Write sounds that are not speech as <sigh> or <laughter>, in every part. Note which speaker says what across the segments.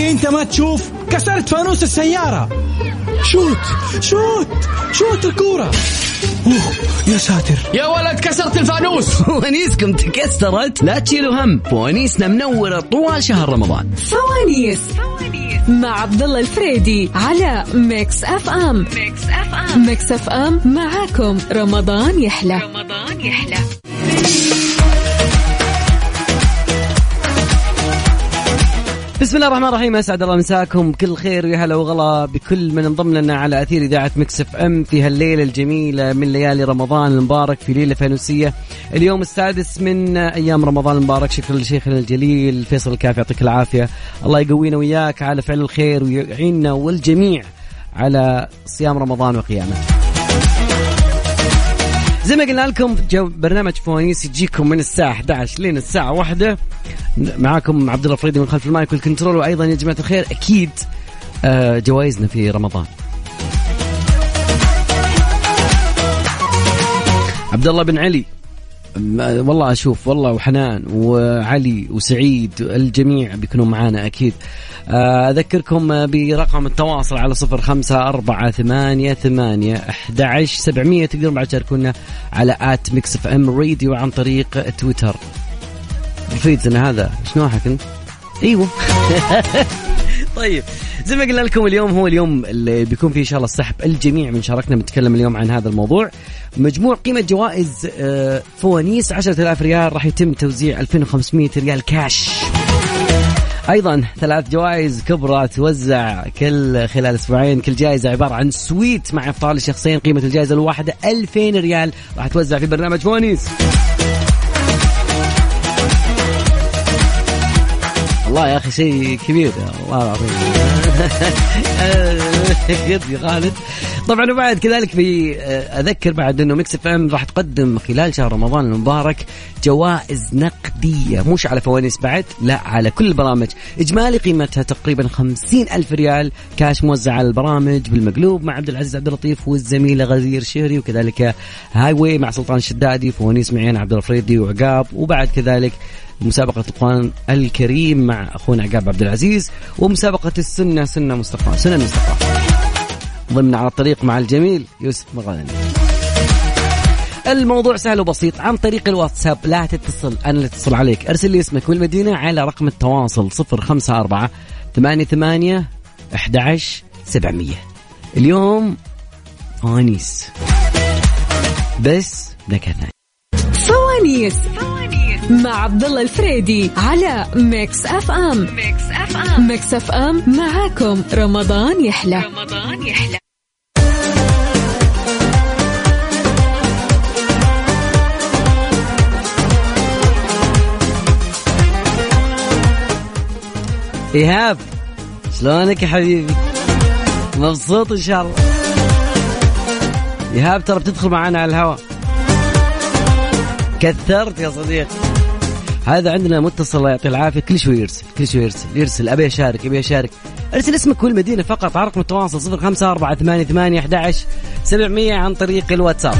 Speaker 1: انت ما تشوف كسرت فانوس السيارة شوت شوت شوت الكورة اوه يا ساتر
Speaker 2: يا ولد كسرت الفانوس
Speaker 3: <laughs> فوانيسكم تكسرت لا تشيلوا هم فوانيسنا منورة طوال شهر رمضان
Speaker 4: فوانيس مع عبد الله الفريدي على ميكس اف ام ميكس اف ام ميكس اف ام معاكم رمضان يحلى رمضان يحلى
Speaker 3: بسم الله الرحمن الرحيم اسعد الله مساكم بكل خير ويا هلا وغلا بكل من انضم لنا على اثير اذاعه مكسف ام في هالليله الجميله من ليالي رمضان المبارك في ليله فانوسيه اليوم السادس من ايام رمضان المبارك شكرا لشيخنا الجليل فيصل الكافي يعطيك العافيه الله يقوينا وياك على فعل الخير ويعيننا والجميع على صيام رمضان وقيامه زي ما قلنا لكم جو برنامج فوانيس يجيكم من الساعة 11 لين الساعة 1 معاكم عبد الله فريدي من خلف المايك والكنترول وايضا يا جماعة الخير اكيد آه، جوائزنا في رمضان. عبد الله بن علي ما- والله اشوف والله وحنان وعلي وسعيد الجميع بيكونوا معانا اكيد آه، اذكركم برقم التواصل على صفر خمسة أربعة ثمانية ثمانية أحد عشر سبعمية تقدرون بعد تشاركونا على آت ميكس اف ام راديو عن طريق تويتر فيدنا هذا شنو نوعك انت؟ ايوه <laughs> طيب زي ما قلنا لكم اليوم هو اليوم اللي بيكون فيه ان شاء الله السحب الجميع من شاركنا بنتكلم اليوم عن هذا الموضوع مجموع قيمه جوائز آه، فوانيس 10000 ريال راح يتم توزيع 2500 ريال كاش ايضا ثلاث جوائز كبرى توزع كل خلال اسبوعين كل جائزه عباره عن سويت مع افطار لشخصين قيمه الجائزه الواحده 2000 ريال راح توزع في برنامج فوانيس والله يا اخي شيء كبير والله العظيم <laughs> جد يا خالد طبعا وبعد كذلك في اذكر بعد انه ميكس اف ام راح تقدم خلال شهر رمضان المبارك جوائز نقديه مش على فوانيس بعد لا على كل البرامج اجمالي قيمتها تقريبا خمسين الف ريال كاش موزع على البرامج بالمقلوب مع عبد العزيز عبد اللطيف والزميله غزير شهري وكذلك هاي واي مع سلطان الشدادي فوانيس معين عبد الفريدي وعقاب وبعد كذلك مسابقة القرآن الكريم مع أخونا عقاب عبد العزيز ومسابقة السنة سنة مصطفى سنة مصطفى ضمن على الطريق مع الجميل يوسف مغاني الموضوع سهل وبسيط عن طريق الواتساب لا تتصل أنا اللي اتصل عليك أرسل لي اسمك والمدينة على رقم التواصل 054 88 11 700 اليوم فوانيس بس دقيقة ثانية
Speaker 4: فوانيس مع عبد الله الفريدي على ميكس اف ام ميكس اف ام ميكس اف ام معاكم رمضان يحلى رمضان يحلى
Speaker 3: ايهاب شلونك يا حبيبي؟ مبسوط ان شاء الله. ايهاب ترى بتدخل معنا على الهواء. كثرت يا صديقي. هذا عندنا متصل الله يعطيه العافيه كل شوي يرسل كل شوي يرسل يرسل ابي اشارك ابي اشارك ارسل اسمك والمدينه فقط على رقم التواصل 054 700 عن طريق الواتساب.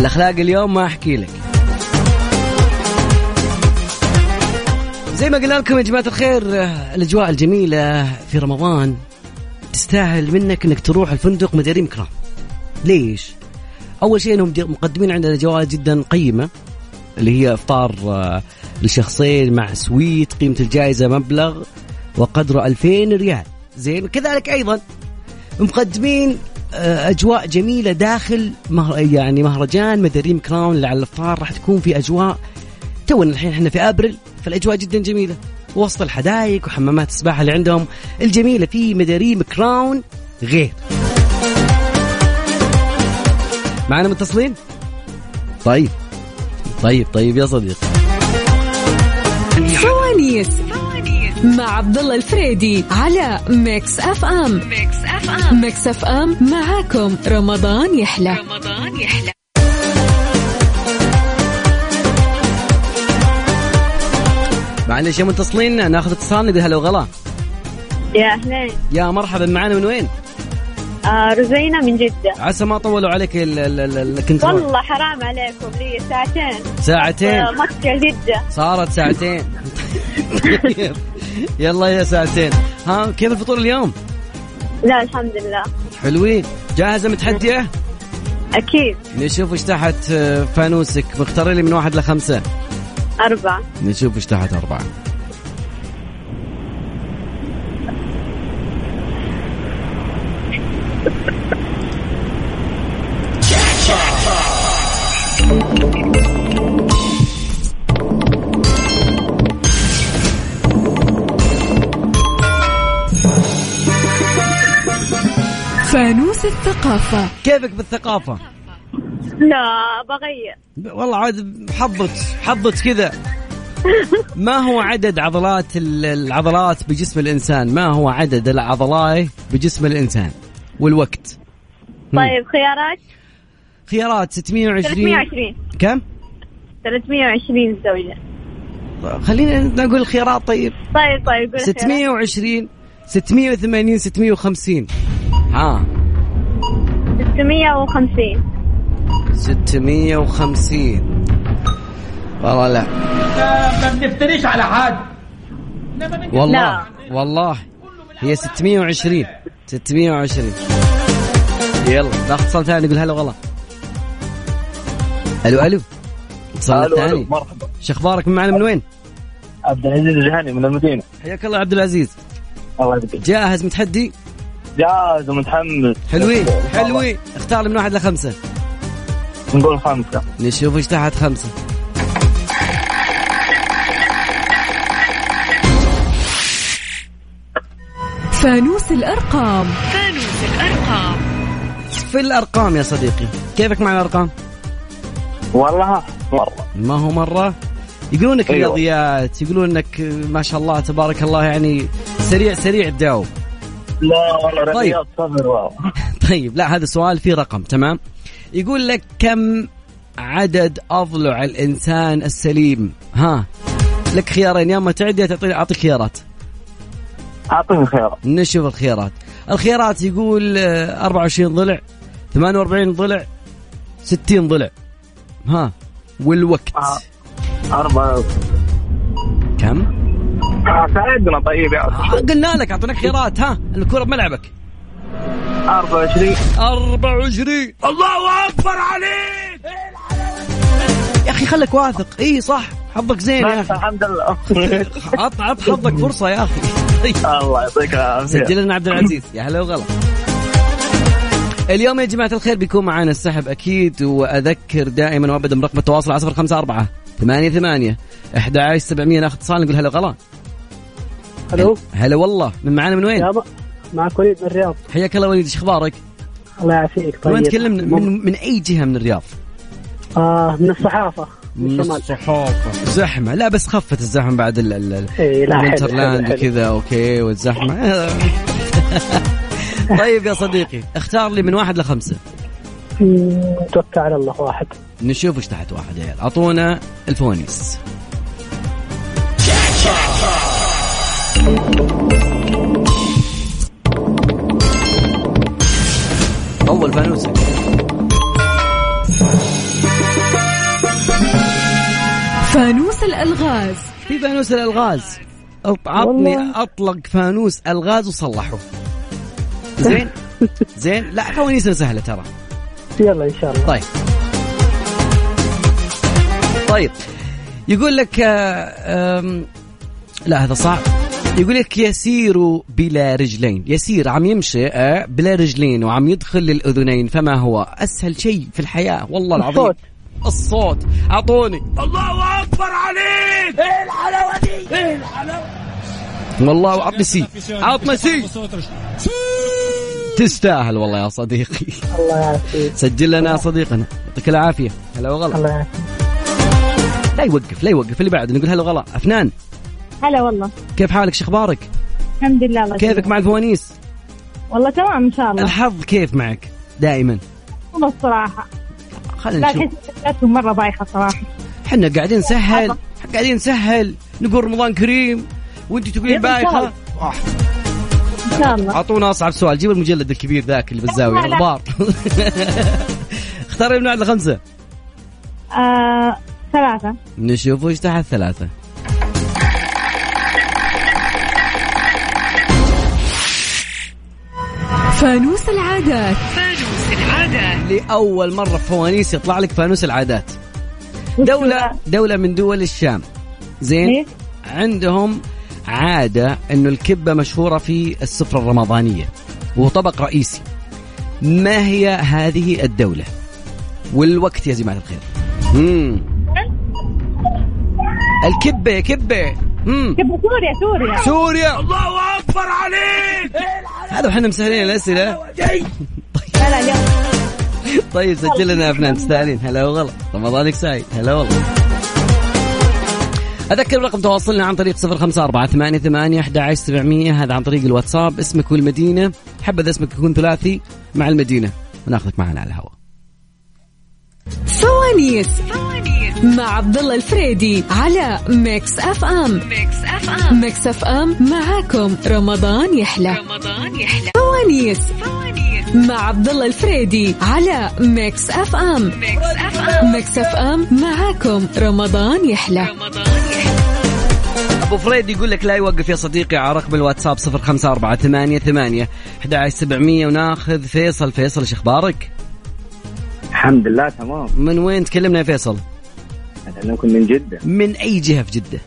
Speaker 3: الاخلاق اليوم ما احكي لك. زي ما قلنا لكم يا جماعة الخير آه، الأجواء الجميلة في رمضان تستاهل منك أنك تروح الفندق مداريم كرام ليش؟ أول شيء أنهم مقدمين عندنا جوائز جدا قيمة اللي هي إفطار آه، لشخصين مع سويت قيمة الجائزة مبلغ وقدره 2000 ريال زين كذلك أيضا مقدمين آه، اجواء جميله داخل مهر يعني مهرجان مداريم كراون اللي على الافطار راح تكون في اجواء تونا الحين احنا في ابريل فالاجواء جدا جميله وسط الحدائق وحمامات السباحه اللي عندهم الجميله في مداريم كراون غير معنا متصلين؟ طيب طيب طيب يا صديقي
Speaker 4: فوانيس مع عبد الله الفريدي على ميكس اف ام ميكس اف ام ميكس اف ام معاكم رمضان يحلى رمضان يحلى
Speaker 3: معلش يا متصلين ناخذ اتصال نقول هلا وغلا
Speaker 5: يا اهلين
Speaker 3: يا مرحبا معنا من وين؟
Speaker 5: آه رزينة من جدة
Speaker 3: عسى ما طولوا عليك ال- ال- ال- الكنترول
Speaker 5: والله حرام عليكم لي ساعتين
Speaker 3: ساعتين
Speaker 5: آه، مكة جدة
Speaker 3: صارت ساعتين <laughs> طيب يلا يا ساعتين ها كيف الفطور اليوم
Speaker 5: لا الحمد لله
Speaker 3: حلوين جاهزه متحديه
Speaker 5: أكيد
Speaker 3: نشوف ايش تحت آه، فانوسك مختار لي من واحد لخمسه
Speaker 5: أربعة
Speaker 3: نشوف ايش تحت اربعه
Speaker 4: فانوس الثقافة
Speaker 3: كيفك بالثقافه
Speaker 5: لا بغير
Speaker 3: والله عاد حظت حظت كذا ما هو عدد عضلات ال- العضلات بجسم الانسان ما هو عدد العضلات بجسم الانسان والوقت مم.
Speaker 5: طيب خيارات
Speaker 3: خيارات 620
Speaker 5: 320
Speaker 3: كم
Speaker 5: 320 زوجة
Speaker 3: خلينا نقول خيارات طيب
Speaker 5: طيب طيب قول
Speaker 3: 620 680 650 ها
Speaker 5: 650
Speaker 3: 650 والله لا
Speaker 2: ما بنفتريش على حد
Speaker 3: والله
Speaker 5: لا.
Speaker 3: والله هي 620 620 يلا ناخذ اتصال ثاني نقول هلا والله الو الو اتصال
Speaker 6: الو الو
Speaker 3: ثاني
Speaker 6: مرحبا
Speaker 3: شو اخبارك من معنا من وين؟
Speaker 6: عبد العزيز الجهني من المدينه
Speaker 3: حياك الله عبد العزيز
Speaker 6: الله يبارك
Speaker 3: جاهز متحدي؟
Speaker 6: جاهز ومتحمس
Speaker 3: حلوين
Speaker 6: إن شاء الله.
Speaker 3: حلوين اختار لي من واحد لخمسه
Speaker 6: نقول خمسه
Speaker 3: نشوف ايش تحت خمسه
Speaker 4: فانوس الأرقام
Speaker 3: في الارقام يا صديقي كيفك مع الارقام؟
Speaker 6: والله مره
Speaker 3: ما هو مره يقولونك
Speaker 6: أيوة.
Speaker 3: رياضيات يقولون انك ما شاء الله تبارك الله يعني سريع سريع تجاوب
Speaker 6: لا والله
Speaker 3: طيب.
Speaker 6: رياض صفر واو
Speaker 3: <laughs> طيب لا هذا سؤال فيه رقم تمام يقول لك كم عدد اضلع الانسان السليم ها لك خيارين يا اما تعد يا تعطيني اعطيك خيارات
Speaker 6: اعطيني خيار
Speaker 3: نشوف الخيارات الخيارات يقول آه، 24 ضلع 48 ضلع 60 ضلع ها والوقت
Speaker 6: آه. أربعة
Speaker 3: كم؟
Speaker 6: آه، ساعدنا طيب يا
Speaker 3: آه، قلنا لك اعطيناك خيارات ها الكره بملعبك
Speaker 6: 24
Speaker 3: 24 الله اكبر عليك يا اخي خلك واثق اي صح حظك زين يا
Speaker 6: بس
Speaker 3: اخي
Speaker 6: الحمد لله
Speaker 3: عط عط <laughs> حظك فرصه يا اخي طيب.
Speaker 6: الله يعطيك العافيه
Speaker 3: سجل لنا عبد العزيز يا هلا وغلا اليوم يا جماعة الخير بيكون معانا السحب أكيد وأذكر دائما وأبدا برقم التواصل على صفر خمسة أربعة ثمانية ثمانية أحد عشر سبعمية ناخذ اتصال نقول هلا غلا
Speaker 7: الو
Speaker 3: هلا والله من معانا من وين؟
Speaker 7: يابا معك وليد من الرياض
Speaker 3: حياك الله وليد ايش اخبارك؟
Speaker 7: الله يعافيك
Speaker 3: طيب.
Speaker 7: طيب
Speaker 3: تكلمنا من, من أي جهة من الرياض؟
Speaker 7: آه من الصحافه من
Speaker 3: من
Speaker 7: الشمال
Speaker 3: الصحافة زحمة لا بس خفت الزحمة بعد ال ال
Speaker 7: اي إيه، لا حلو، حلو،
Speaker 3: الانترلاند
Speaker 7: حلو.
Speaker 3: كذا اوكي والزحمة <laughs> طيب يا صديقي اختار لي من واحد لخمسة
Speaker 7: مم، توكل على الله واحد
Speaker 3: نشوف ايش تحت واحد يا عيال اعطونا الفوانيس اول فانوس
Speaker 4: فانوس الألغاز
Speaker 3: في فانوس الالغاز أط- عطني اطلق فانوس الغاز وصلحه زين زين لا فوانيسنا سهله ترى
Speaker 7: يلا ان شاء الله
Speaker 3: طيب طيب يقول لك آه، آم، لا هذا صعب يقول لك يسير بلا رجلين يسير عم يمشي آه، بلا رجلين وعم يدخل للأذنين فما هو أسهل شيء في الحياة والله العظيم
Speaker 7: الصوت.
Speaker 3: الصوت أعطوني الله أكبر عليك إيه الحلاوة دي إيه الحلاوة والله عطني سي عطني سي تستاهل والله يا صديقي
Speaker 7: الله يعافيك
Speaker 3: سجل لنا يا صديقنا يعطيك العافيه هلا وغلا
Speaker 7: الله يعافيك
Speaker 3: لا يوقف لا يوقف اللي بعده نقول هلا وغلا افنان
Speaker 5: هلا والله
Speaker 3: كيف حالك شو اخبارك
Speaker 5: الحمد لله الله
Speaker 3: كيفك مع الفوانيس
Speaker 5: والله تمام ان شاء الله
Speaker 3: الحظ كيف معك دائما
Speaker 5: والله الصراحة
Speaker 3: خلينا
Speaker 5: لا
Speaker 3: نشوف
Speaker 5: احس إنهم مرة بايخة صراحة
Speaker 3: احنا قاعدين نسهل قاعدين نسهل نقول رمضان كريم وانت تقولين
Speaker 5: يلا إن شاء
Speaker 3: بايخه
Speaker 5: الله. ان شاء الله
Speaker 3: اعطونا اصعب سؤال جيب المجلد الكبير ذاك اللي بالزاويه
Speaker 5: لا، لا.
Speaker 3: الغبار <laughs> اختاري من واحد لخمسه
Speaker 5: آه، ثلاثة
Speaker 3: نشوف وش تحت ثلاثه
Speaker 4: فانوس العادات
Speaker 3: لاول مره في فوانيس يطلع لك فانوس العادات دوله دوله من دول الشام زين
Speaker 5: إيه؟
Speaker 3: عندهم عاده انه الكبه مشهوره في السفره الرمضانيه وهو طبق رئيسي ما هي هذه الدوله والوقت يا جماعه الخير مم. الكبه كبه مم.
Speaker 5: كبر سوريا سوريا
Speaker 3: سوريا الله اكبر عليك هذا وحنا مسهلين الاسئله
Speaker 5: لا لا اليوم
Speaker 3: طيب سجل لنا يا فنان تستاهلين هلا وغلا رمضانك سعيد هلا والله أذكر رقم تواصلنا عن طريق صفر خمسة أربعة ثمانية ثمانية أحد سبعمية هذا عن طريق الواتساب اسمك والمدينة حبذا اسمك يكون ثلاثي مع المدينة وناخذك معنا على الهواء
Speaker 4: فوانيس مع عبد الله الفريدي على ميكس اف ام ميكس اف ام ميكس اف ام معاكم رمضان يحلى رمضان يحلى فوانيس مع عبد الله الفريدي على ميكس اف ام ميكس اف ام ميكس اف ام معاكم رمضان يحلى
Speaker 3: أبو فريد يقول لك لا يوقف يا صديقي على رقم الواتساب صفر خمسة أربعة ثمانية ثمانية أحد سبعمية وناخذ فيصل فيصل إيش أخبارك
Speaker 6: الحمد لله تمام
Speaker 3: من وين تكلمنا يا فيصل
Speaker 6: اكلمكم من جده
Speaker 3: من أي جهة في جدة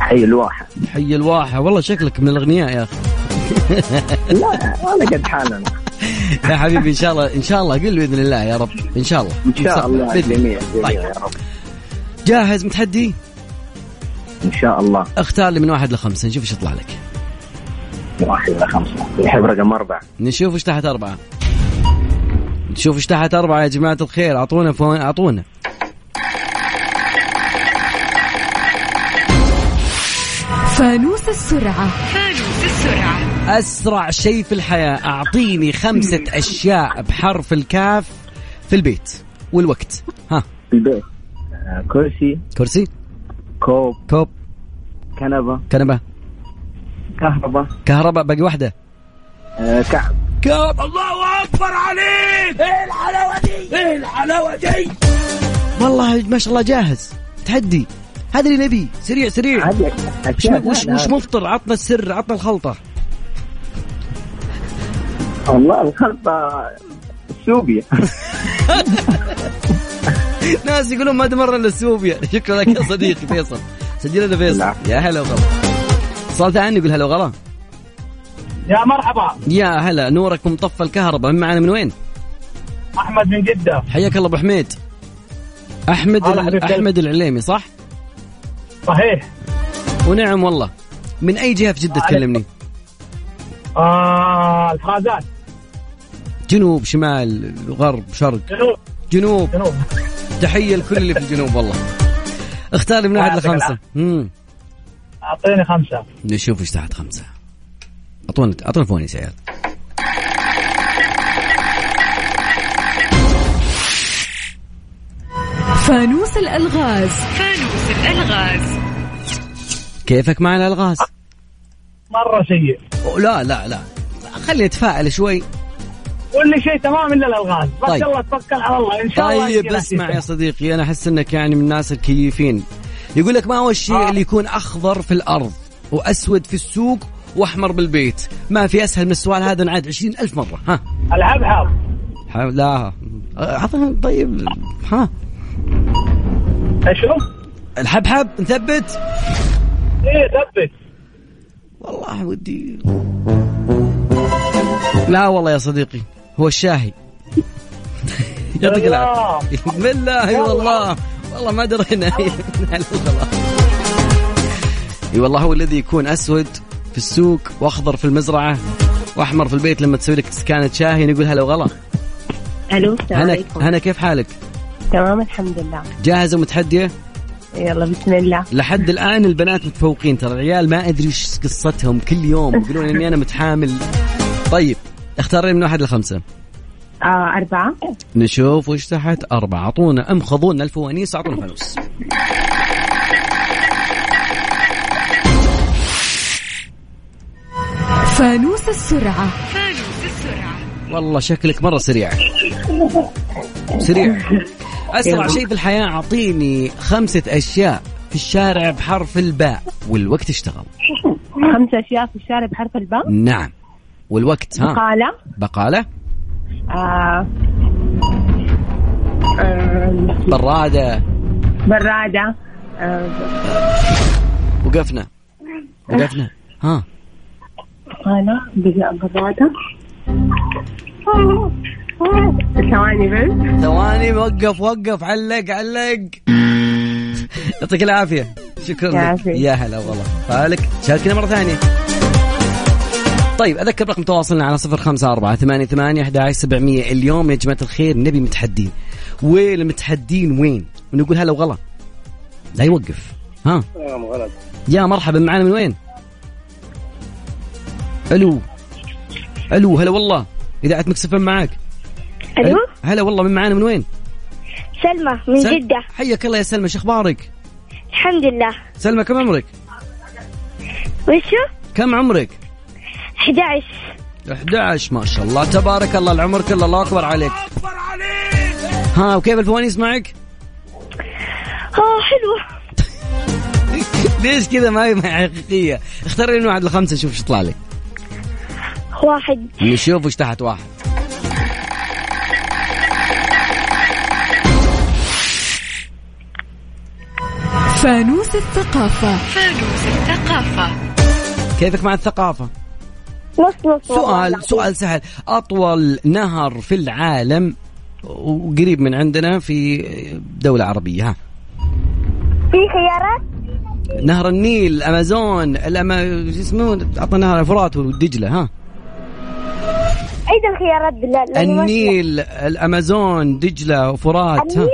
Speaker 6: حي الواحه
Speaker 3: حي الواحة والله شكلك من الأغنياء يا <laughs> أخي
Speaker 6: لا انا قد حالنا
Speaker 3: يا حبيبي إن شاء الله إن شاء الله قل بإذن الله يا رب إن شاء الله
Speaker 6: ان شاء الله
Speaker 3: بإذن.
Speaker 6: جميع جميع
Speaker 3: طيب
Speaker 6: يا رب
Speaker 3: جاهز متحدي
Speaker 6: ان شاء الله
Speaker 3: اختار لي من واحد لخمسة نشوف إيش يطلع لك
Speaker 6: واحد الى خمسه نحب رقم اربعه
Speaker 3: نشوف إيش تحت أربعة نشوف إيش تحت أربعة يا جماعة الخير أعطونا فوان أعطونا
Speaker 4: فانوس السرعه
Speaker 3: أسرع شيء في الحياة أعطيني خمسة أشياء بحرف الكاف في البيت والوقت ها
Speaker 6: البيت آه، كرسي
Speaker 3: كرسي
Speaker 6: كوب
Speaker 3: كوب
Speaker 6: كنبه
Speaker 3: كنبة
Speaker 6: كهرباء
Speaker 3: كهرباء باقي واحدة
Speaker 6: آه، كعب
Speaker 3: كاب الله اكبر عليك ايه الحلاوه دي ايه الحلاوه دي والله ما شاء الله جاهز تحدي هذا اللي نبي سريع سريع
Speaker 6: هذه
Speaker 3: وش
Speaker 6: أشياء
Speaker 3: وش,
Speaker 6: لا،
Speaker 3: وش مفطر عطنا السر عطنا الخلطه
Speaker 6: لا. والله الخلطه
Speaker 3: <laughs>
Speaker 6: سوبيا
Speaker 3: ناس يقولون ما تمرنا السوبيا <laughs> شكرا يعني. لك يا صديقي فيصل سجل لنا
Speaker 6: لا.
Speaker 3: فيصل يا هلا وغلا اتصال ثاني يقول هلا وغلا
Speaker 2: يا مرحبا
Speaker 3: يا هلا نورك مطفى الكهرباء من معنا من وين؟
Speaker 2: احمد من جده
Speaker 3: حياك الله ابو حميد احمد
Speaker 2: هلا
Speaker 3: ال-
Speaker 2: حبيب قلبي.
Speaker 3: احمد العليمي صح؟
Speaker 2: صحيح
Speaker 3: ونعم والله من اي جهه في جده تكلمني؟
Speaker 2: آه الخازات
Speaker 3: جنوب شمال غرب شرق
Speaker 2: جنوب
Speaker 3: جنوب
Speaker 2: جنوب
Speaker 3: تحيه لكل اللي في الجنوب والله اختار من واحد
Speaker 2: يعطيك
Speaker 3: لخمسه
Speaker 2: العافية.
Speaker 3: امم
Speaker 2: اعطيني خمسه
Speaker 3: نشوف ايش تحت خمسه اعطونا اعطونا فوانيس يا عيال
Speaker 4: فانوس الالغاز
Speaker 3: كيفك مع الالغاز؟
Speaker 2: مره سيء
Speaker 3: لا لا لا خليني اتفائل شوي
Speaker 2: كل شيء تمام الا الالغاز بس
Speaker 3: طيب.
Speaker 2: يلا توكل على الله ان شاء الله
Speaker 3: طيب
Speaker 2: يجي
Speaker 3: اسمع
Speaker 2: نتيجة.
Speaker 3: يا صديقي انا احس انك يعني من الناس الكيفين يقول لك ما هو الشيء اللي يكون اخضر في الارض واسود في السوق واحمر بالبيت ما في اسهل من السؤال هذا انعاد عشرين ألف مره ها
Speaker 2: الحبحب
Speaker 3: ح- لا عطنا طيب ها
Speaker 2: اشوف
Speaker 3: الحبحب نثبت
Speaker 2: ايه ثبت
Speaker 3: والله ودي لا والله يا صديقي هو الشاهي يعطيك العافيه بالله والله والله ما درينا اي والله هو الذي يكون اسود في السوق واخضر في المزرعه واحمر في البيت لما تسوي لك سكانة شاهي نقول هلا وغلا
Speaker 8: الو السلام
Speaker 3: هنا
Speaker 8: عليكم
Speaker 3: هنا كيف حالك؟
Speaker 8: تمام الحمد لله
Speaker 3: جاهزه ومتحديه؟
Speaker 8: يلا بسم الله
Speaker 3: لحد الان البنات متفوقين ترى العيال ما ادري ايش قصتهم كل يوم يقولون اني انا متحامل طيب اختار لي من واحد لخمسه
Speaker 8: آه أربعة
Speaker 3: نشوف وش تحت أربعة أعطونا أم خذونا الفوانيس أعطونا فانوس
Speaker 4: فانوس السرعه
Speaker 3: والله شكلك مرة سريع سريع أسرع شيء في الحياة أعطيني خمسة أشياء في الشارع بحرف الباء والوقت اشتغل
Speaker 8: خمسة أشياء في الشارع بحرف الباء
Speaker 3: نعم والوقت ها
Speaker 8: قالة
Speaker 3: بقالة
Speaker 8: آه. آه.
Speaker 3: برادة
Speaker 8: برادة آه.
Speaker 3: وقفنا وقفنا ها
Speaker 8: بقالة بقى- برادة ثواني بس
Speaker 3: ثواني وقف وقف علق علق يعطيك العافية شكرا لك
Speaker 8: يعافيك.
Speaker 3: يا هلا والله فالك شاركنا مرة ثانية طيب أذكر رقم تواصلنا على صفر خمسة أربعة ثمانية ثمانية أحد سبعمية اليوم يا جماعة الخير نبي متحدين والمتحدين وين ونقول هلا وغلا لا يوقف ها
Speaker 6: غلط
Speaker 3: يا مرحبا معنا من وين ألو ألو هلا والله إذاعة مكسفة معاك
Speaker 5: الو
Speaker 3: هلا والله من معانا من وين
Speaker 5: سلمى من
Speaker 3: سل-
Speaker 5: جدة
Speaker 3: حياك الله يا سلمى شو اخبارك؟
Speaker 5: الحمد لله
Speaker 3: سلمى كم عمرك؟
Speaker 5: وشو؟
Speaker 3: كم عمرك؟
Speaker 5: 11
Speaker 3: 11 ما شاء الله تبارك الله العمر كله الله اكبر عليك ها وكيف الفوانيس معك؟ <laughs>
Speaker 5: اه حلوة
Speaker 3: ليش كذا ما هي ما هي حقيقيه؟ اختار لي من واحد لخمسه نشوف ايش يطلع لك
Speaker 5: واحد
Speaker 3: نشوف وش تحت واحد
Speaker 4: فانوس الثقافة
Speaker 3: كيفك مع الثقافه؟
Speaker 5: نص نص والله.
Speaker 3: سؤال سؤال سهل اطول نهر في العالم وقريب من عندنا في دولة عربية ها
Speaker 5: في خيارات؟
Speaker 3: نهر النيل الامازون الأما... شو اسمه عطنا نهر الفرات والدجلة ها
Speaker 5: عيد الخيارات بالله لأني ما أسمع.
Speaker 3: النيل الامازون دجله وفرات ها؟
Speaker 5: النيل؟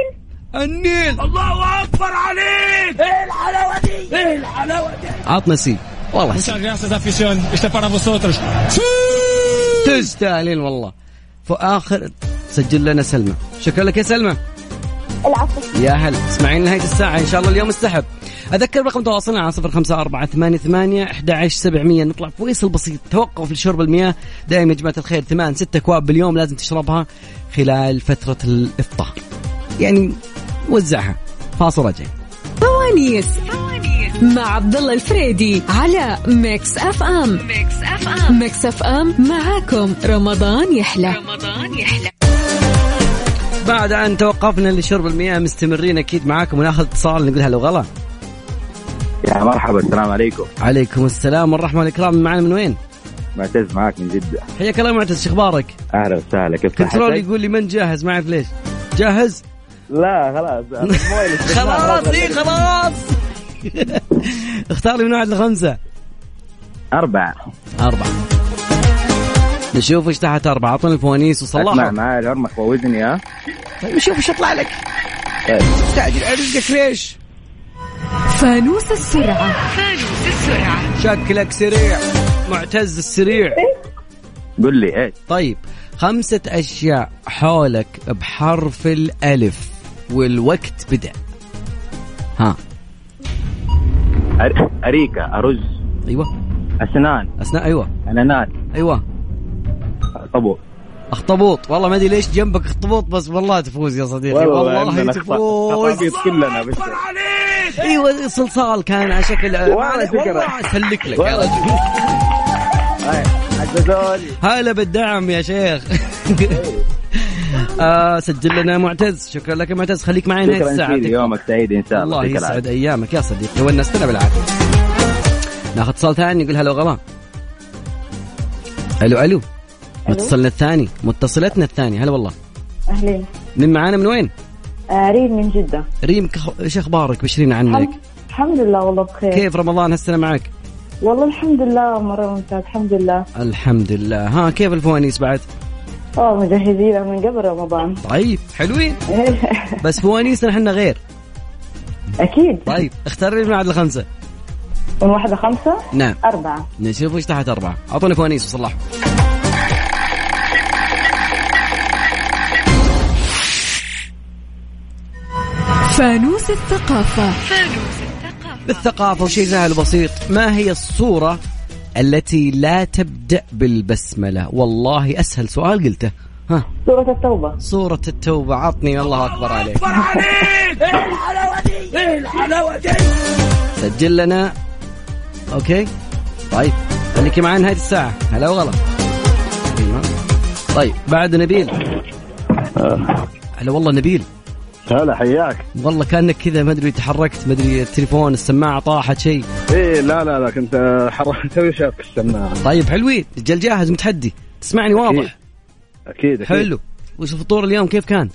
Speaker 3: النيل الله اكبر عليك ايه الحلاوه دي ايه الحلاوه دي عطنا سي والله سي. تستاهلين والله فاخر سجل لنا سلمى شكرا لك يا سلمى
Speaker 5: العفو
Speaker 3: يا هلا اسمعين نهاية الساعة إن شاء الله اليوم السحب أذكر رقم تواصلنا على صفر خمسة أربعة ثمانية ثمانية سبعمية نطلع فويصل بسيط توقف لشرب المياه دائما يا جماعة الخير ثمان ستة أكواب باليوم لازم تشربها خلال فترة الإفطار يعني وزعها فاصل راجع
Speaker 4: فوانيس مع عبد الله الفريدي على ميكس اف ام ميكس اف ام ميكس اف ام معاكم رمضان يحلى رمضان يحلى
Speaker 3: بعد أن توقفنا لشرب المياه مستمرين أكيد معاكم وناخذ اتصال نقول هلا وغلا
Speaker 6: يا مرحبا السلام عليكم
Speaker 3: عليكم السلام والرحمة والإكرام معنا من وين؟
Speaker 6: معتز معك من جدة
Speaker 3: حياك الله يا معتز شخبارك؟
Speaker 6: اهلا وسهلا كيف
Speaker 3: كنترول
Speaker 6: صحتك؟
Speaker 3: يقول لي من جاهز ما أعرف ليش جاهز؟
Speaker 6: لا
Speaker 3: <laughs>
Speaker 6: خلاص مويل
Speaker 3: خلاص <laughs> اي خلاص اختار لي من واحد لخمسة
Speaker 6: أربعة
Speaker 3: أربعة نشوف ايش تحت أربعة أعطني الفوانيس
Speaker 6: اسمع
Speaker 3: وصلحها
Speaker 6: معايا العمر وزني ها
Speaker 3: طيب نشوف ايش يطلع لك
Speaker 6: طيب.
Speaker 3: استعجل عرفك ليش
Speaker 4: فانوس السرعة
Speaker 3: شكلك سريع معتز السريع
Speaker 6: قل لي ايش
Speaker 3: طيب خمسة أشياء حولك بحرف الألف والوقت بدأ ها
Speaker 6: أر- أريكة أرز
Speaker 3: أيوة
Speaker 6: أسنان
Speaker 3: أثناء أيوة
Speaker 6: أناناس
Speaker 3: أيوة
Speaker 6: طبو
Speaker 3: اخطبوط والله ما ادري ليش جنبك اخطبوط بس والله تفوز يا صديقي والله تفوز
Speaker 6: كلنا بس
Speaker 3: ايوه صلصال كان على شكل
Speaker 6: والله
Speaker 3: والله,
Speaker 6: شكرا.
Speaker 3: والله اسلك لك يا
Speaker 6: والله
Speaker 3: رجل
Speaker 6: طيب، عززوني
Speaker 3: هلا بالدعم يا شيخ <laughs> آه سجل لنا معتز شكرا لك يا معتز خليك معي نهايه
Speaker 6: شكرا
Speaker 3: الساعه
Speaker 6: كثير
Speaker 3: يعطيك
Speaker 6: يومك سعيد ان شاء الله
Speaker 3: الله
Speaker 6: يعطيك
Speaker 3: يسعد
Speaker 6: العافية.
Speaker 3: ايامك يا صديقي ونستنا بالعافيه ناخذ اتصال ثاني يقول هلا وغلا الو الو متصلنا الثاني متصلتنا الثاني هلا والله
Speaker 8: أهلين
Speaker 3: من معانا من وين؟
Speaker 8: آه ريم من جدة
Speaker 3: ريم كخ- ايش اخبارك؟ بشرينا عنك
Speaker 8: الحمد لله والله بخير
Speaker 3: كيف رمضان هالسنه معك؟
Speaker 8: والله الحمد لله مرة ممتاز الحمد لله
Speaker 3: الحمد لله ها كيف الفوانيس بعد؟
Speaker 8: اه مجهزين من قبل رمضان <laughs>
Speaker 3: طيب حلوين بس فوانيسنا احنا <laughs> غير
Speaker 8: أكيد
Speaker 3: طيب اختار لي من واحد لخمسه
Speaker 8: من واحدة خمسة
Speaker 3: نعم
Speaker 8: أربعة
Speaker 3: نشوف وش تحت اربعه اعطونا فوانيس وصلحوا
Speaker 4: فانوس الثقافة
Speaker 3: بالثقافه وشيء سهل وبسيط ما هي الصوره التي لا تبدا بالبسمله والله اسهل سؤال قلته ها
Speaker 8: سورة التوبة
Speaker 3: سورة التوبة عطني الله أكبر عليك أكبر عليك <laughs> إيه الحلاوة دي إيه الحلاوة دي سجل لنا أوكي طيب خليكي معنا نهاية الساعة هلا وغلا طيب بعد نبيل هلا والله نبيل
Speaker 6: هلا حياك
Speaker 3: والله كانك كذا ما ادري تحركت ما ادري التليفون السماعه طاحت شيء
Speaker 6: ايه لا لا لا كنت حركت <laughs> توي شاف السماعه
Speaker 3: طيب حلوين رجال جاهز متحدي تسمعني
Speaker 6: إيه،
Speaker 3: واضح
Speaker 6: اكيد اكيد
Speaker 3: حلو وش الفطور اليوم كيف كان؟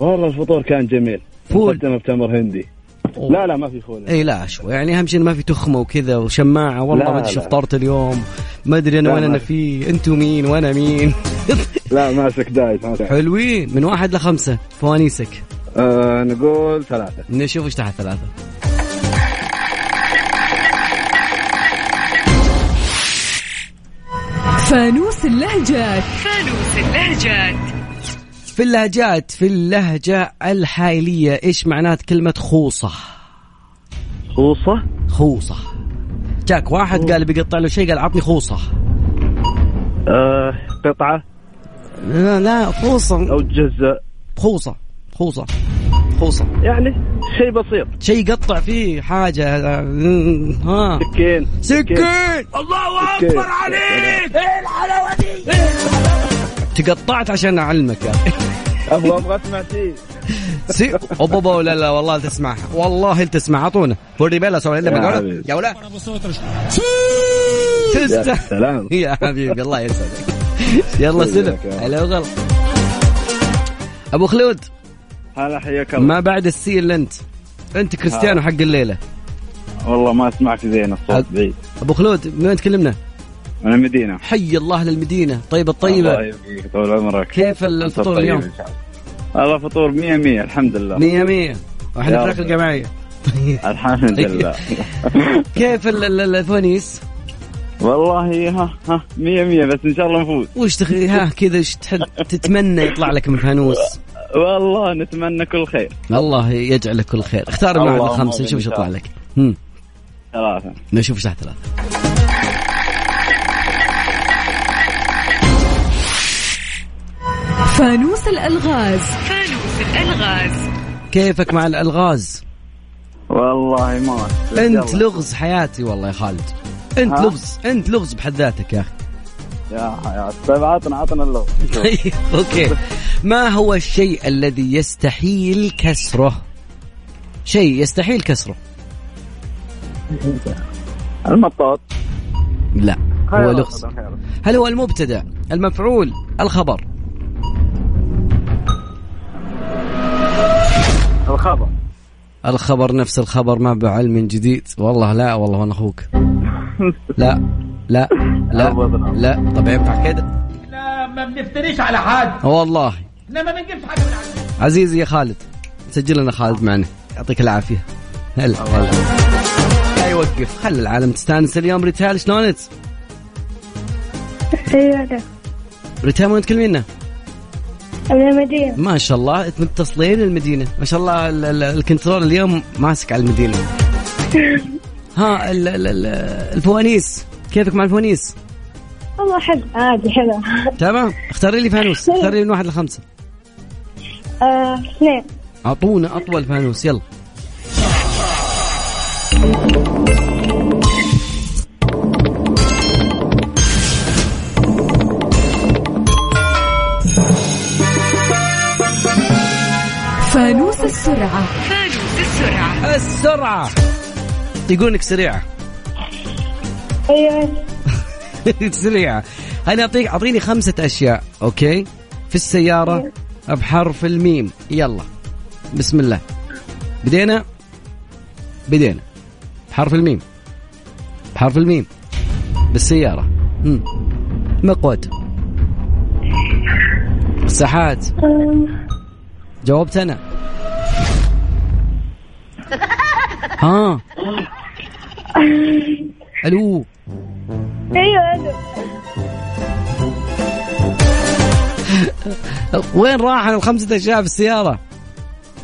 Speaker 6: والله الفطور كان جميل
Speaker 3: فول.
Speaker 6: مقدمه بتمر هندي
Speaker 3: أوه.
Speaker 6: لا لا ما في فول
Speaker 3: اي لا شوي يعني اهم شيء إنه ما في تخمه وكذا وشماعه والله
Speaker 6: لا،
Speaker 3: ما ادري شو
Speaker 6: لا.
Speaker 3: فطرت اليوم ما ادري انا
Speaker 6: لا،
Speaker 3: وين
Speaker 6: ما
Speaker 3: انا
Speaker 6: في.
Speaker 3: فيه انتم مين وانا مين <laughs>
Speaker 6: لا ماسك دايت ماسك
Speaker 3: حلوين من واحد لخمسه فوانيسك
Speaker 6: آه نقول ثلاثه
Speaker 3: نشوف ايش تحت ثلاثه
Speaker 4: فانوس اللهجات
Speaker 3: في اللهجات في اللهجه الحائليه ايش معنات كلمه خوصه؟
Speaker 6: خوصه
Speaker 3: خوصه جاك واحد قال بيقطع له شيء قال عطني خوصه
Speaker 6: آه قطعه
Speaker 3: لا لا خوصه
Speaker 6: او جزء
Speaker 3: خوصه خوصه خوصه
Speaker 6: يعني شيء بسيط
Speaker 3: شيء يقطع فيه حاجه
Speaker 6: <laughs>
Speaker 3: ها
Speaker 6: سكين
Speaker 3: سكين الله
Speaker 6: سكين.
Speaker 3: اكبر عليك ايه الحلاوه دي إيه الحلاوة؟ تقطعت عشان اعلمك يا أخي.
Speaker 6: ابغى ابغى اسمع شيء
Speaker 3: سي اوبا لا لا والله تسمعها والله تسمع اعطونا فوري بيلا سوى
Speaker 6: يا
Speaker 3: الا
Speaker 6: حبيبي.
Speaker 3: يا ولا
Speaker 6: يا
Speaker 3: تست-
Speaker 6: سلام
Speaker 3: يا حبيبي الله يسعدك يلا سلم
Speaker 6: حياك يا رب.
Speaker 3: هلا وغلا ابو خلود
Speaker 6: هلا حياك الله
Speaker 3: ما بعد السي اللي انت انت كريستيانو حق الليله
Speaker 6: والله ما اسمعك زين الصوت
Speaker 3: أب-
Speaker 6: بعيد
Speaker 3: ابو خلود من وين تكلمنا؟
Speaker 6: من المدينه
Speaker 3: حي الله للمدينه طيبه
Speaker 6: الله
Speaker 3: الطيبه
Speaker 6: يبقيك طول عمرك
Speaker 3: كيف الفطور
Speaker 6: طيب
Speaker 3: اليوم؟
Speaker 6: إن شاء الله. والله فطور 100 100 الحمد لله
Speaker 3: مية مية واحنا
Speaker 6: يا
Speaker 3: في رحلة
Speaker 6: رب.
Speaker 3: جماعية
Speaker 6: الحمد لله
Speaker 3: كيف ال- ال- الفوانيس؟
Speaker 6: والله ها ها 100 100 بس ان شاء الله نفوز
Speaker 3: وش تخ... ها كذا وش تحد تتمنى يطلع لك من فانوس؟
Speaker 6: والله نتمنى كل خير
Speaker 3: الله يجعلك كل خير، اختار من واحد
Speaker 6: اللهم
Speaker 3: لخمسة نشوف ايش
Speaker 6: آمين.
Speaker 3: يطلع لك. هم.
Speaker 6: ثلاثه
Speaker 3: نشوف ايش تحت ثلاثة.
Speaker 4: فانوس الألغاز
Speaker 3: كيفك مع الالغاز؟
Speaker 6: والله ما أدري.
Speaker 3: انت
Speaker 6: يلا.
Speaker 3: لغز حياتي والله يا خالد. انت
Speaker 6: ها؟
Speaker 3: لغز، انت لغز بحد ذاتك يا اخي. <laughs>
Speaker 6: يا حياتي طيب عطنا عطنا اللغه
Speaker 3: طيب اوكي. ما هو الشيء الذي يستحيل كسره؟ شيء يستحيل كسره.
Speaker 6: المطاط
Speaker 3: لا هو
Speaker 6: خير
Speaker 3: لغز.
Speaker 6: أبداً، خير.
Speaker 3: هل هو المبتدا المفعول الخبر
Speaker 6: الخبر
Speaker 3: الخبر نفس الخبر ما بعلم جديد والله لا والله انا اخوك لا لا لا لا طب ينفع كده
Speaker 9: ما بنفتريش على حد
Speaker 3: والله
Speaker 9: انما ما بنجيبش حاجه من عندنا
Speaker 3: عزيزي يا خالد سجل لنا خالد معنا يعطيك العافيه هلا هلا لا يوقف خلي العالم تستانس اليوم ريتال شلونك؟
Speaker 5: سيارة
Speaker 3: ريتال وين تكلمينا؟
Speaker 5: من المدينة
Speaker 3: ما شاء الله متصلين المدينة ما شاء الله ال- ال- الكنترول اليوم ماسك على
Speaker 5: <laughs>
Speaker 3: المدينة ها ال- ال- ال- الفوانيس كيفك مع الفوانيس
Speaker 5: والله حلو عادي حلو
Speaker 3: تمام اختاري لي
Speaker 5: <laughs>
Speaker 3: فانوس اختاري لي من واحد لخمسة
Speaker 5: آه، اثنين
Speaker 3: اعطونا اطول فانوس يلا
Speaker 4: فانوس السرعة
Speaker 3: السرعة يقولك سريعة أيوة.
Speaker 5: ايوه
Speaker 3: <laughs> سريعة أنا أعطيك أعطيني خمسة أشياء أوكي في السيارة بحرف الميم يلا بسم الله بدينا بدينا بحرف الميم بحرف الميم بالسيارة مم. مقود ساحات جاوبت أنا ها ألو
Speaker 5: ايوه أيوة.
Speaker 3: وين راح الخمسة أشياء في السيارة؟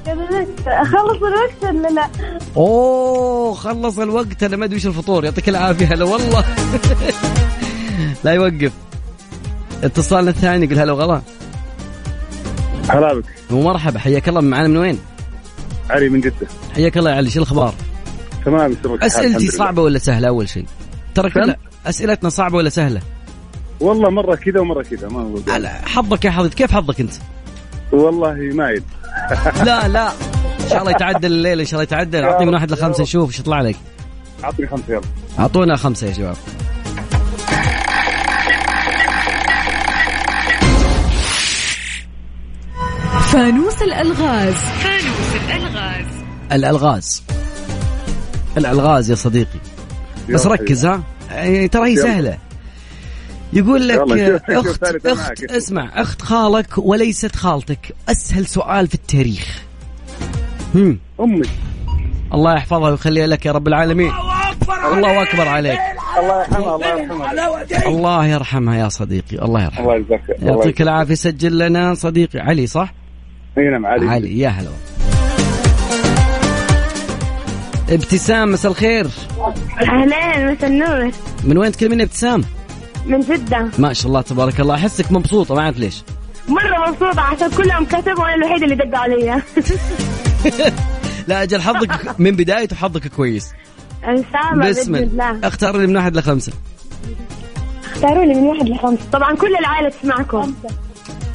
Speaker 5: قبل الوقت. اخلص الوقت ولا لا؟
Speaker 3: اوه خلص الوقت انا ما ادري ايش الفطور يعطيك العافيه هلا والله <laughs> لا يوقف اتصالنا الثاني يقول هلا وغلا
Speaker 6: هلا بك
Speaker 3: ومرحبا حياك الله معنا من وين؟
Speaker 6: علي من جده
Speaker 3: حياك الله يا علي شو الاخبار؟
Speaker 6: تمام يسرك الحال، الحمد
Speaker 3: اسئلتي
Speaker 6: لله.
Speaker 3: صعبه ولا سهله اول شيء؟ ترى كل
Speaker 6: سهل.
Speaker 3: اسئلتنا صعبه ولا سهله؟
Speaker 6: والله مره كذا ومره كذا ما أقول.
Speaker 3: على حظك يا حظي كيف حظك انت؟
Speaker 6: والله ما يد
Speaker 3: لا لا ان شاء الله يتعدل الليله ان شاء الله يتعدل اعطني من واحد لخمسه نشوف ايش يطلع لك
Speaker 6: اعطني خمسه يلا
Speaker 3: اعطونا خمسه يا شباب
Speaker 4: فانوس الألغاز
Speaker 3: الالغاز الالغاز يا صديقي بس
Speaker 6: يلا
Speaker 3: ركز ها يعني ترى هي سهله يقول لك
Speaker 6: يلا، شوف- شوف
Speaker 3: اخت
Speaker 6: ثالث
Speaker 3: اخت
Speaker 6: معاك.
Speaker 3: اسمع اخت خالك وليست خالتك اسهل سؤال في التاريخ هم.
Speaker 6: امي
Speaker 3: الله يحفظها ويخليها لك يا رب العالمين الله اكبر عليك
Speaker 6: الله يرحمها الله يرحمها
Speaker 3: الله يرحمها يا صديقي الله
Speaker 6: الله
Speaker 3: يرحمها
Speaker 6: يجزاك الله
Speaker 3: يعطيك
Speaker 6: يجزاك.
Speaker 3: العافيه سجل لنا صديقي علي صح
Speaker 6: اي نعم علي
Speaker 3: علي يا هلا والله. ابتسام مساء الخير
Speaker 5: اهلين مسا النور
Speaker 3: من وين تكلمين يا ابتسام
Speaker 5: من جدة
Speaker 3: ما شاء الله تبارك الله احسك مبسوطه ما اعرف ليش
Speaker 5: مرة مبسوطة عشان كلهم كتبوا وانا الوحيدة اللي دقوا علي
Speaker 3: لا اجل حظك من بدايته حظك كويس
Speaker 5: ان شاء الله
Speaker 3: بسم
Speaker 5: باذن الله
Speaker 3: الله اختار لي من واحد لخمسه
Speaker 5: اختاروا لي من واحد لخمسة طبعا كل العائلة تسمعكم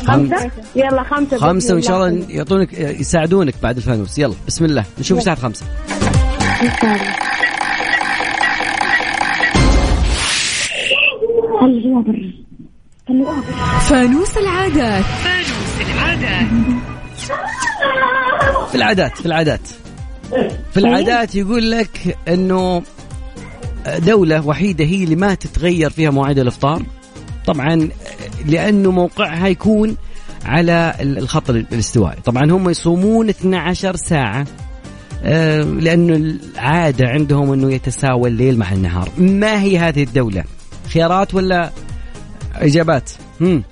Speaker 5: خمسة يلا خمسة بإذن
Speaker 3: خمسه وان شاء الله يعطونك يساعدونك بعد الفانوس يلا بسم الله نشوف الساعه خمسه
Speaker 4: فانوس العادات
Speaker 3: في العادات في العادات في العادات يقول لك انه دولة وحيدة هي اللي ما تتغير فيها مواعيد الافطار طبعا لانه موقعها يكون على الخط الاستوائي طبعا هم يصومون 12 ساعة آه، لانه العادة عندهم انه يتساوى الليل مع النهار ما هي هذه الدولة خيارات ولا اجابات هم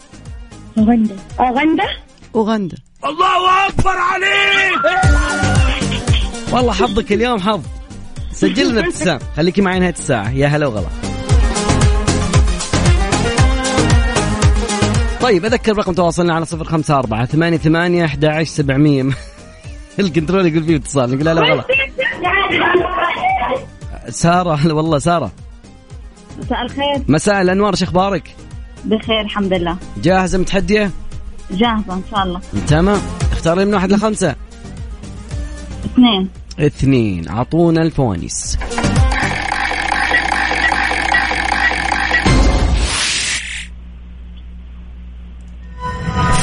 Speaker 5: أوغندا أوغندا
Speaker 3: اوغندا الله اكبر عليك والله حظك اليوم حظ سجل لنا ابتسام خليكي معي نهايه الساعه يا هلا وغلا طيب اذكر رقم تواصلنا على صفر خمسة أربعة ثمانية ثمانية أحد عشر سبعمية <laughs> الكنترول يقول فيه اتصال نقول لا لا غلط سارة هلا والله سارة
Speaker 8: مساء الخير
Speaker 3: مساء الأنوار شو أخبارك؟
Speaker 8: بخير الحمد لله
Speaker 3: جاهزة متحدية؟
Speaker 8: جاهزة إن شاء الله
Speaker 3: تمام اختاري من واحد لخمسة
Speaker 8: اثنين
Speaker 3: اثنين اعطونا الفوانيس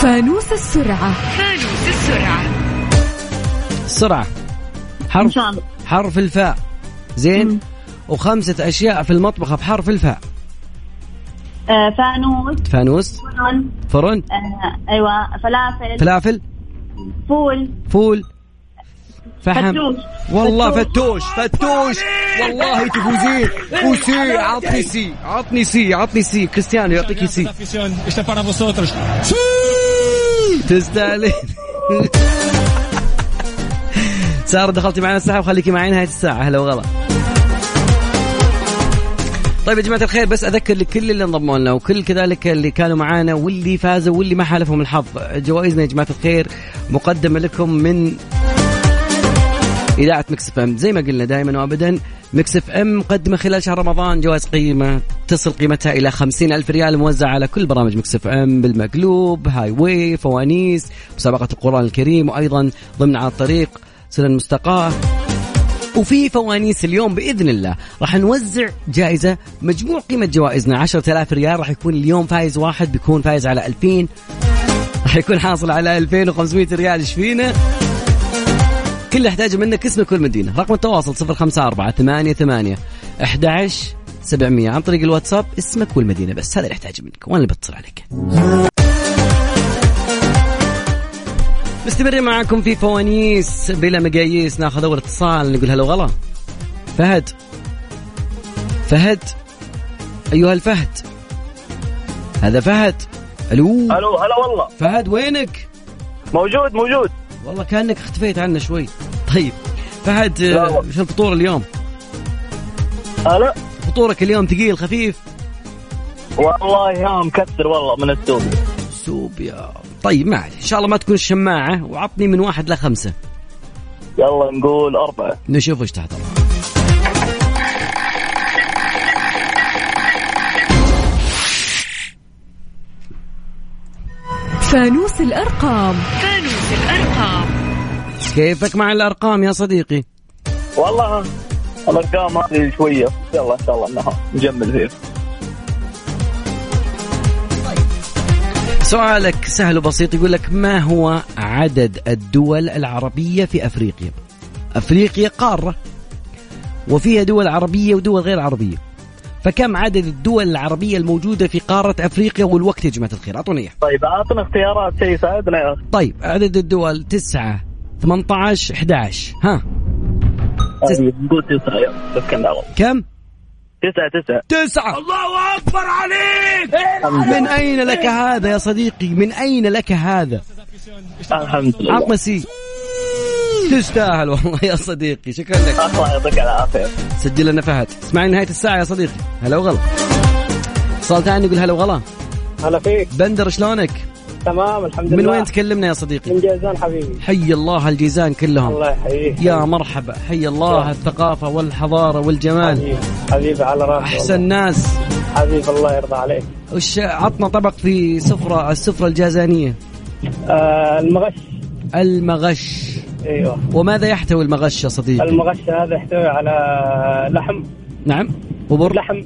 Speaker 4: فانوس السرعة
Speaker 3: سرعة حرف
Speaker 8: الله
Speaker 3: حرف الفاء زين وخمسة أشياء في المطبخ بحرف الفاء
Speaker 8: آه فانوس
Speaker 3: فانوس
Speaker 8: فرن
Speaker 3: فرن
Speaker 8: آه أيوة فلافل
Speaker 3: فلافل
Speaker 8: فول
Speaker 3: فول فحم
Speaker 8: فتوش.
Speaker 3: والله فتوش
Speaker 8: فتوش.
Speaker 3: فتوش والله تفوزين وسي عطني سي عطني سي عطني سي كريستيانو يعطيك سي تستاهلين سارة دخلتي معنا الساعة وخليكي معي نهاية الساعة هلا وغلا طيب يا جماعة الخير بس أذكر لكل اللي انضموا لنا وكل كذلك اللي كانوا معانا واللي فازوا واللي ما حالفهم الحظ جوائزنا يا جماعة الخير مقدمة لكم من إذاعة مكسف أم زي ما قلنا دائما وأبدا مكسف أم مقدمة خلال شهر رمضان جوائز قيمة تصل قيمتها إلى خمسين ألف ريال موزعة على كل برامج مكسف أم بالمقلوب هاي واي فوانيس مسابقة القرآن الكريم وأيضا ضمن على الطريق سنة المستقاة وفي فوانيس اليوم باذن الله راح نوزع جائزه مجموع قيمه جوائزنا 10000 ريال راح يكون اليوم فايز واحد بيكون فايز على 2000 راح يكون حاصل على 2500 ريال ايش فينا كل اللي احتاجه منك اسمك والمدينه رقم التواصل 054 88 11 700 عن طريق الواتساب اسمك والمدينه بس هذا اللي احتاجه منك وانا اللي بتصل عليك مستمرين معاكم في فوانيس بلا مقاييس ناخذ اول اتصال نقول هلا وغلا فهد فهد ايها الفهد هذا فهد الو
Speaker 2: الو هلا والله
Speaker 3: فهد وينك؟
Speaker 2: موجود موجود
Speaker 3: والله كانك اختفيت عنا شوي طيب فهد
Speaker 2: لا
Speaker 3: آه،
Speaker 2: والله.
Speaker 3: شو الفطور اليوم؟
Speaker 2: هلا
Speaker 3: فطورك اليوم ثقيل خفيف
Speaker 2: والله يا مكثر والله من السوق
Speaker 3: سوب يا طيب ما عليه ان شاء الله ما تكون شماعه وعطني من واحد لخمسه
Speaker 2: يلا نقول أربعة
Speaker 3: نشوف ايش تحضر
Speaker 4: فانوس الأرقام
Speaker 3: كيفك مع الارقام يا صديقي
Speaker 2: والله الارقام هذه شويه يلا ان شاء الله انها نجمل فيها
Speaker 3: سؤالك سهل وبسيط يقول لك ما هو عدد الدول العربية في أفريقيا أفريقيا قارة وفيها دول عربية ودول غير عربية فكم عدد الدول العربية الموجودة في قارة أفريقيا والوقت يا جماعة الخير أعطوني إياه
Speaker 2: طيب اعطنا اختيارات شيء يساعدنا يا اخي
Speaker 3: طيب عدد الدول تسعة 18 11 ها تس-
Speaker 2: طيب، قول تسعه يلا بس كنا والله
Speaker 3: كم؟
Speaker 2: تسعه تسعه
Speaker 3: تسعة الله أكبر عليك من أين لك هذا يا صديقي من أين لك هذا
Speaker 2: الحمد لله
Speaker 3: عطنا سي تستاهل والله يا صديقي شكرا لك
Speaker 2: الله يعطيك العافيه
Speaker 3: سجل لنا فهد اسمعي نهاية الساعة يا صديقي هلا وغلا اتصال ثاني يقول هلا وغلا
Speaker 7: هلا فيك
Speaker 3: بندر شلونك
Speaker 7: تمام الحمد لله
Speaker 3: من وين تكلمنا يا صديقي
Speaker 7: من جازان حبيبي
Speaker 3: حي الله الجيزان كلهم
Speaker 7: الله يحييك
Speaker 3: يا مرحبا حي الله الثقافة والحضارة والجمال
Speaker 7: حبيبي حبيبي على راسي
Speaker 3: أحسن ناس
Speaker 7: والله. حبيبي الله يرضى عليك
Speaker 3: وش عطنا طبق في سفرة السفرة الجازانية
Speaker 7: آه المغش
Speaker 3: المغش
Speaker 7: ايوه
Speaker 3: وماذا يحتوي المغش يا صديقي
Speaker 7: المغش هذا يحتوي على لحم
Speaker 3: نعم وبر
Speaker 7: لحم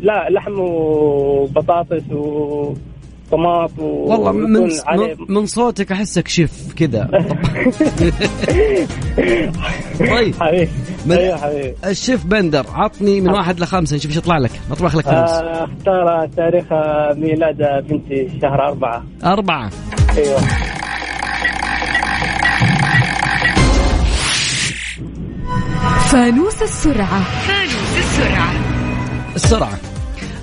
Speaker 7: لا لحم وبطاطس وطماط و...
Speaker 3: والله من
Speaker 7: ويكون عليه
Speaker 3: من صوتك احسك شيف
Speaker 7: <laughs>
Speaker 3: كذا طيب
Speaker 7: حبيبي
Speaker 3: من-
Speaker 7: ايوه حبيبي
Speaker 3: الشيف بندر عطني من واحد لخمسة نشوف ايش يطلع لك نطبخ لك خمس
Speaker 7: آه، اختار تاريخ ميلاد بنتي شهر أربعة
Speaker 3: أربعة
Speaker 7: ايوه
Speaker 4: فانوس السرعة
Speaker 3: السرعة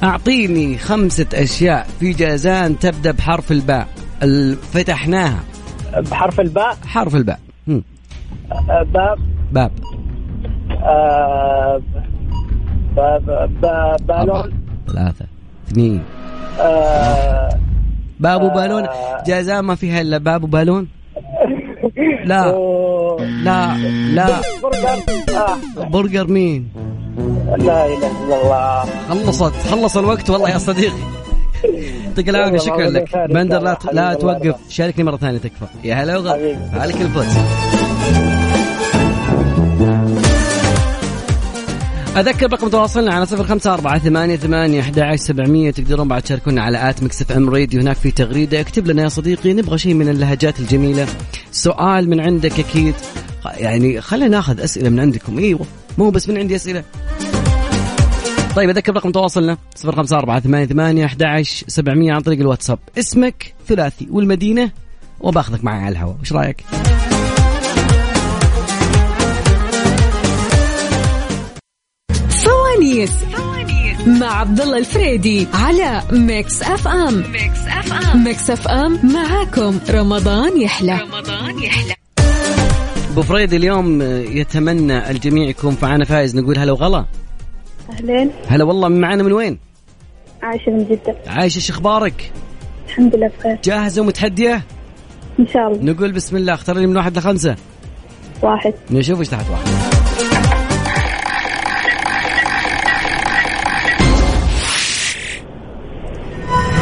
Speaker 3: أعطيني خمسة أشياء في جازان تبدأ بحرف الباء ال- فتحناها
Speaker 7: بحرف الباء
Speaker 3: حرف الباء هم،
Speaker 7: آه، باب
Speaker 3: باب
Speaker 7: آه، باب باب
Speaker 3: أربعة
Speaker 7: بالون
Speaker 3: ثلاثة اثنين
Speaker 7: آه،
Speaker 3: باب وبالون جازان ما فيها إلا باب وبالون لا
Speaker 7: و-
Speaker 3: لا لا
Speaker 7: برجر. آه،
Speaker 3: برجر مين
Speaker 7: لا اله الا الله
Speaker 3: خلصت خلص الوقت والله يا صديقي يعطيك العافيه
Speaker 7: يلا،
Speaker 3: شكرا
Speaker 7: الله
Speaker 3: لك
Speaker 7: يسعدك.
Speaker 3: بندر لا
Speaker 7: حبيبي
Speaker 3: لا
Speaker 7: الله
Speaker 3: توقف
Speaker 7: يرضى.
Speaker 3: شاركني مره ثانيه تكفى يا هلا وغلا
Speaker 7: حبيبي.
Speaker 3: عليك الفوز أذكر رقم تواصلنا على صفر خمسة أربعة ثمانية ثمانية أحد عشر سبعمية تقدرون بعد تشاركونا على آت مكسف أم راديو هناك في تغريدة اكتب لنا يا صديقي نبغى شيء من اللهجات الجميلة سؤال من عندك أكيد يعني خلينا ناخذ أسئلة من عندكم أيوة مو بس من عندي أسئلة طيب اذكر رقم تواصلنا 0548811700 عن طريق الواتساب اسمك ثلاثي والمدينه وباخذك معي على الهواء وش رايك
Speaker 4: فوانيس مع عبد الله الفريدي على ميكس اف ام ميكس اف ام ميكس اف ام معاكم رمضان يحلى رمضان يحلى
Speaker 3: ابو فريد اليوم يتمنى الجميع يكون معنا فايز نقول هلا وغلا
Speaker 5: أهلين
Speaker 3: هلا والله معنا من وين
Speaker 5: عايشة من جدة
Speaker 3: عايشه ايش اخبارك
Speaker 5: الحمد لله بخير
Speaker 3: جاهزه ومتحديه
Speaker 5: إن شاء الله
Speaker 3: نقول بسم الله اختار لي من واحد لخمسه
Speaker 5: واحد
Speaker 3: نشوف ايش تحت واحد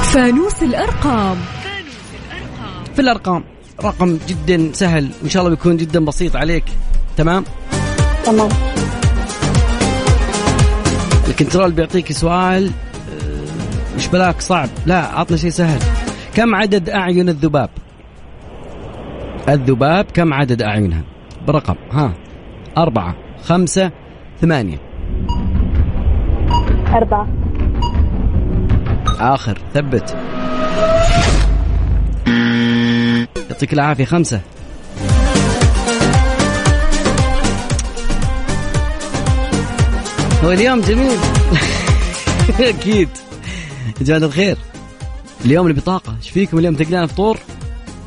Speaker 4: فانوس الارقام
Speaker 3: في الارقام رقم جدا سهل وان شاء الله بيكون جدا بسيط عليك تمام
Speaker 5: تمام
Speaker 3: الكنترول بيعطيك سؤال آه، مش بلاك صعب لا عطنا شيء سهل كم عدد اعين الذباب الذباب كم عدد اعينها برقم ها أربعة خمسة ثمانية
Speaker 5: أربعة
Speaker 3: آخر ثبت يعطيك العافية خمسة هو اليوم جميل <laughs> أكيد يا جماعة الخير اليوم نبي طاقة ايش فيكم اليوم تقلان فطور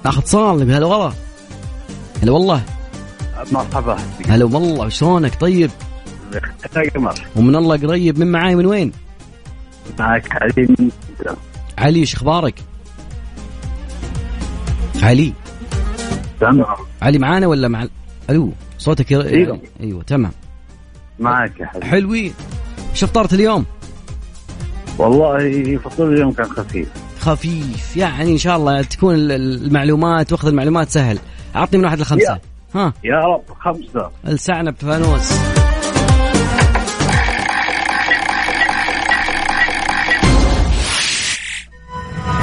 Speaker 3: ناخذ صال نبي هلا والله هلا والله
Speaker 6: مرحبا
Speaker 3: هلا والله شلونك طيب
Speaker 6: يا قمر
Speaker 3: ومن الله قريب من معاي من وين
Speaker 6: معك علي من جدة.
Speaker 3: علي ايش اخبارك علي
Speaker 6: تمام
Speaker 3: علي معانا ولا مع الو صوتك ير...
Speaker 6: أيوة.
Speaker 3: ايوه تمام
Speaker 6: معك يا حبيبي
Speaker 3: حلوين شو فطرت اليوم
Speaker 6: والله فطور اليوم كان خفيف
Speaker 3: خفيف يعني ان شاء الله تكون ال- ال- المعلومات واخذ المعلومات سهل اعطني من واحد لخمسه ها
Speaker 6: يا رب خمسة
Speaker 3: السعنب فانوس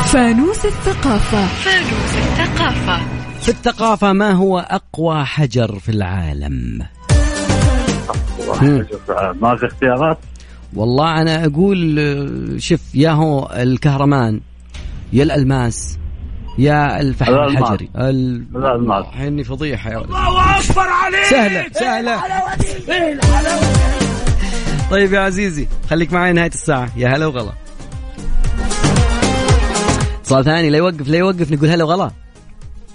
Speaker 4: فانوس الثقافة
Speaker 3: في الثقافه ما هو اقوى حجر في العالم مم.
Speaker 6: ما في اختيارات
Speaker 3: والله انا اقول آه، شوف يا هو الكهرمان يا الالماس يا الفحم
Speaker 6: الألماس.
Speaker 3: الحجري ال-
Speaker 6: الألماس.
Speaker 3: اني فضيحه يا ولد الله اكبر عليك سهله سهله طيب يا عزيزي خليك معي نهايه الساعه يا هلا وغلا اتصال ثاني لا يوقف لا يوقف نقول هلا وغلا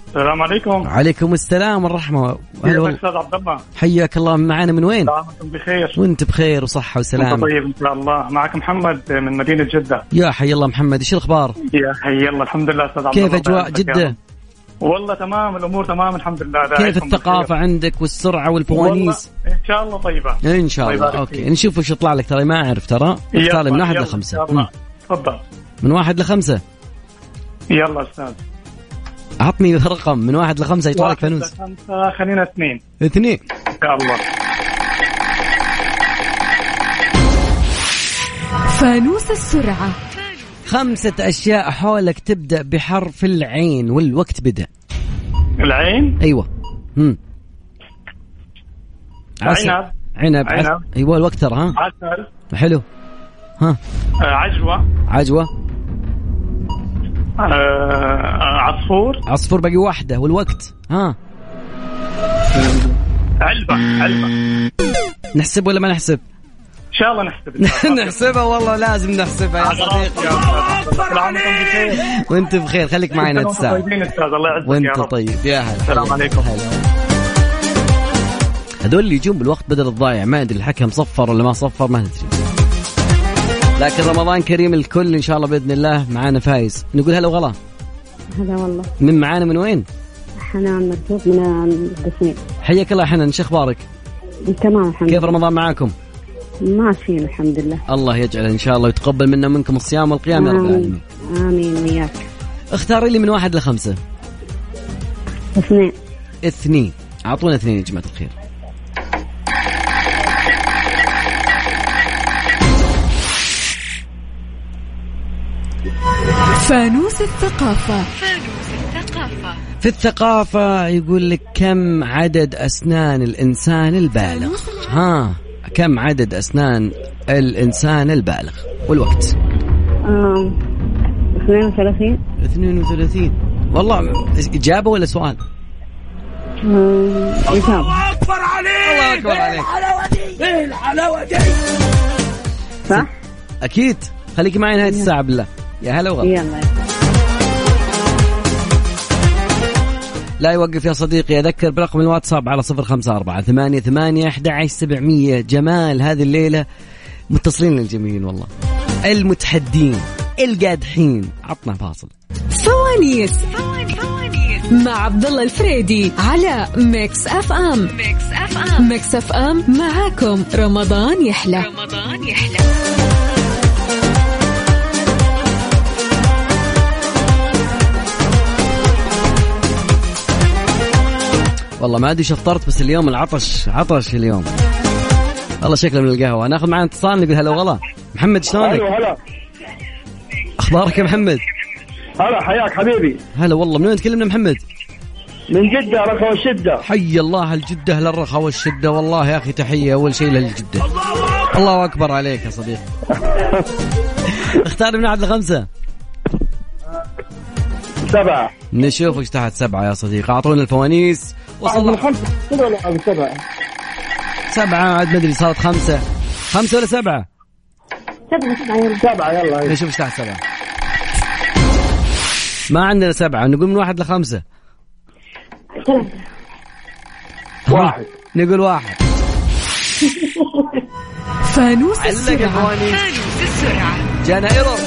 Speaker 2: السلام عليكم
Speaker 3: عليكم السلام والرحمه هلا
Speaker 2: كيفك
Speaker 3: والله.
Speaker 2: استاذ عبد الله؟
Speaker 3: حياك الله معنا من وين
Speaker 2: دعمكم بخير
Speaker 3: وانت بخير وصحه
Speaker 2: انت
Speaker 3: وسلامه
Speaker 2: طيب ان شاء الله معك محمد من مدينه جده
Speaker 3: يا حي الله محمد ايش الاخبار
Speaker 2: يا حي الله الحمد لله استاذ عبد
Speaker 3: كيف
Speaker 2: الله
Speaker 3: اجواء
Speaker 2: يسعدك يا
Speaker 3: جده
Speaker 2: رب. والله تمام الامور تمام الحمد لله
Speaker 3: كيف
Speaker 2: داعيكم
Speaker 3: الثقافة
Speaker 2: بالخير.
Speaker 3: عندك والسرعة
Speaker 2: والله
Speaker 3: والفوانيس؟
Speaker 2: ان شاء الله طيبه
Speaker 3: ان إيه، شاء الله
Speaker 2: يبارك
Speaker 3: اوكي
Speaker 2: فيك.
Speaker 3: نشوف وش يطلع لك ترى ما اعرف ترى
Speaker 2: يلا،
Speaker 3: اختار لي من واحد
Speaker 2: يلا،
Speaker 3: لخمسة
Speaker 2: يلا.
Speaker 3: مم.
Speaker 2: تفضل
Speaker 3: من واحد لخمسة
Speaker 2: يلا استاذ
Speaker 3: عطني رقم من واحد لخمسة يطلع لك
Speaker 2: واحد
Speaker 3: فانوس
Speaker 2: لخمسة، خلينا اثنين
Speaker 3: اثنين
Speaker 2: ان شاء الله
Speaker 4: فانوس السرعة
Speaker 3: خمسة أشياء حولك تبدأ بحرف العين والوقت بدأ
Speaker 2: العين
Speaker 3: أيوة مم. عسل.
Speaker 2: عنب.
Speaker 3: عنب عسل.
Speaker 2: عنب.
Speaker 3: أيوة الوقت ترى ها
Speaker 2: عسل
Speaker 3: حلو ها
Speaker 2: آه، عجوه
Speaker 3: عجوة
Speaker 2: آه، عصفور
Speaker 3: عصفور باقي واحدة والوقت ها
Speaker 2: علبه علبه
Speaker 3: نحسب ولا ما نحسب؟ <laughs>
Speaker 2: ان شاء الله نحسب
Speaker 3: نحسبها والله لازم نحسبها يا صديقي وانت بخير خليك معنا
Speaker 2: وانتم
Speaker 3: الساعة
Speaker 2: طيبين استاذ الله يعزك يا
Speaker 3: وانت
Speaker 2: رب
Speaker 3: طيب يا هلا
Speaker 2: السلام عليكم.
Speaker 3: هذول اللي يجون بالوقت بدل الضايع ما ادري الحكم صفر ولا ما صفر ما ندري لكن رمضان كريم الكل ان شاء الله باذن الله معانا فايز نقول هلا وغلا
Speaker 5: هلا والله
Speaker 3: من معانا من وين
Speaker 5: حنان مكتوب من القسمين
Speaker 3: حياك الله حنان شو اخبارك
Speaker 5: تمام الحمد
Speaker 3: كيف رمضان معاكم
Speaker 5: ماشيين الحمد لله
Speaker 3: الله يجعل ان شاء الله ويتقبل منا ومنكم الصيام والقيام يا رب العالمين
Speaker 5: آمين وياك
Speaker 3: اختاري لي من واحد لخمسه
Speaker 5: اثنين
Speaker 3: اثنين اعطونا اثنين يا جماعه الخير
Speaker 4: فانوس الثقافة
Speaker 3: في الثقافة يقول لك كم عدد أسنان الإنسان البالغ ها كم عدد أسنان الإنسان البالغ والوقت
Speaker 5: آم، اثنين وثلاثين
Speaker 3: 32 والله إجابة ولا سؤال
Speaker 5: آم، إجابة
Speaker 3: الله أكبر عليك
Speaker 5: صح؟
Speaker 3: أكيد خليك معي نهاية الساعة بالله يا هلا وغلا
Speaker 5: يلا
Speaker 3: لا يوقف يا صديقي أذكر برقم الواتساب على 054 ثمانية ثمانية 11 700 جمال هذه الليلة متصلين للجميل والله المتحدين القادحين عطنا فاصل
Speaker 4: فوانيس مع عبد الله الفريدي على ميكس اف ام ميكس اف ام ميكس اف ام معاكم رمضان يحلى رمضان يحلى
Speaker 3: والله ما ادري إيش افطرت بس اليوم العطش عطش اليوم والله شكله من القهوه ناخذ معنا اتصال نقول هلا وغلا محمد
Speaker 6: أيوة.
Speaker 3: شلونك
Speaker 7: هلا
Speaker 3: اخبارك يا محمد
Speaker 7: هلا حياك حبيبي
Speaker 3: هلا والله من وين تكلمنا محمد
Speaker 7: من جده رخوه الشده
Speaker 3: حي الله الجده للرخاء والشده والله يا اخي تحيه اول شيء للجده الله اكبر عليك يا صديقي اختار من واحد لخمسه
Speaker 7: سبعه
Speaker 3: نشوفك تحت سبعه يا صديقي اعطونا الفوانيس وصلنا
Speaker 7: خمسه كذا ولا سبعه
Speaker 3: سبعه عاد ما ادري صارت خمسه خمسه ولا سبعه؟
Speaker 5: سبعة سبعة يلا
Speaker 7: سبعه يلا
Speaker 3: نشوف ايش تحت سبعة ما عندنا سبعة نقول من واحد لخمسة
Speaker 5: ثلاثة
Speaker 7: واحد.
Speaker 3: نقول واحد
Speaker 4: فانوس
Speaker 3: علق
Speaker 4: السرعة
Speaker 3: الفوانيس جانا ايرور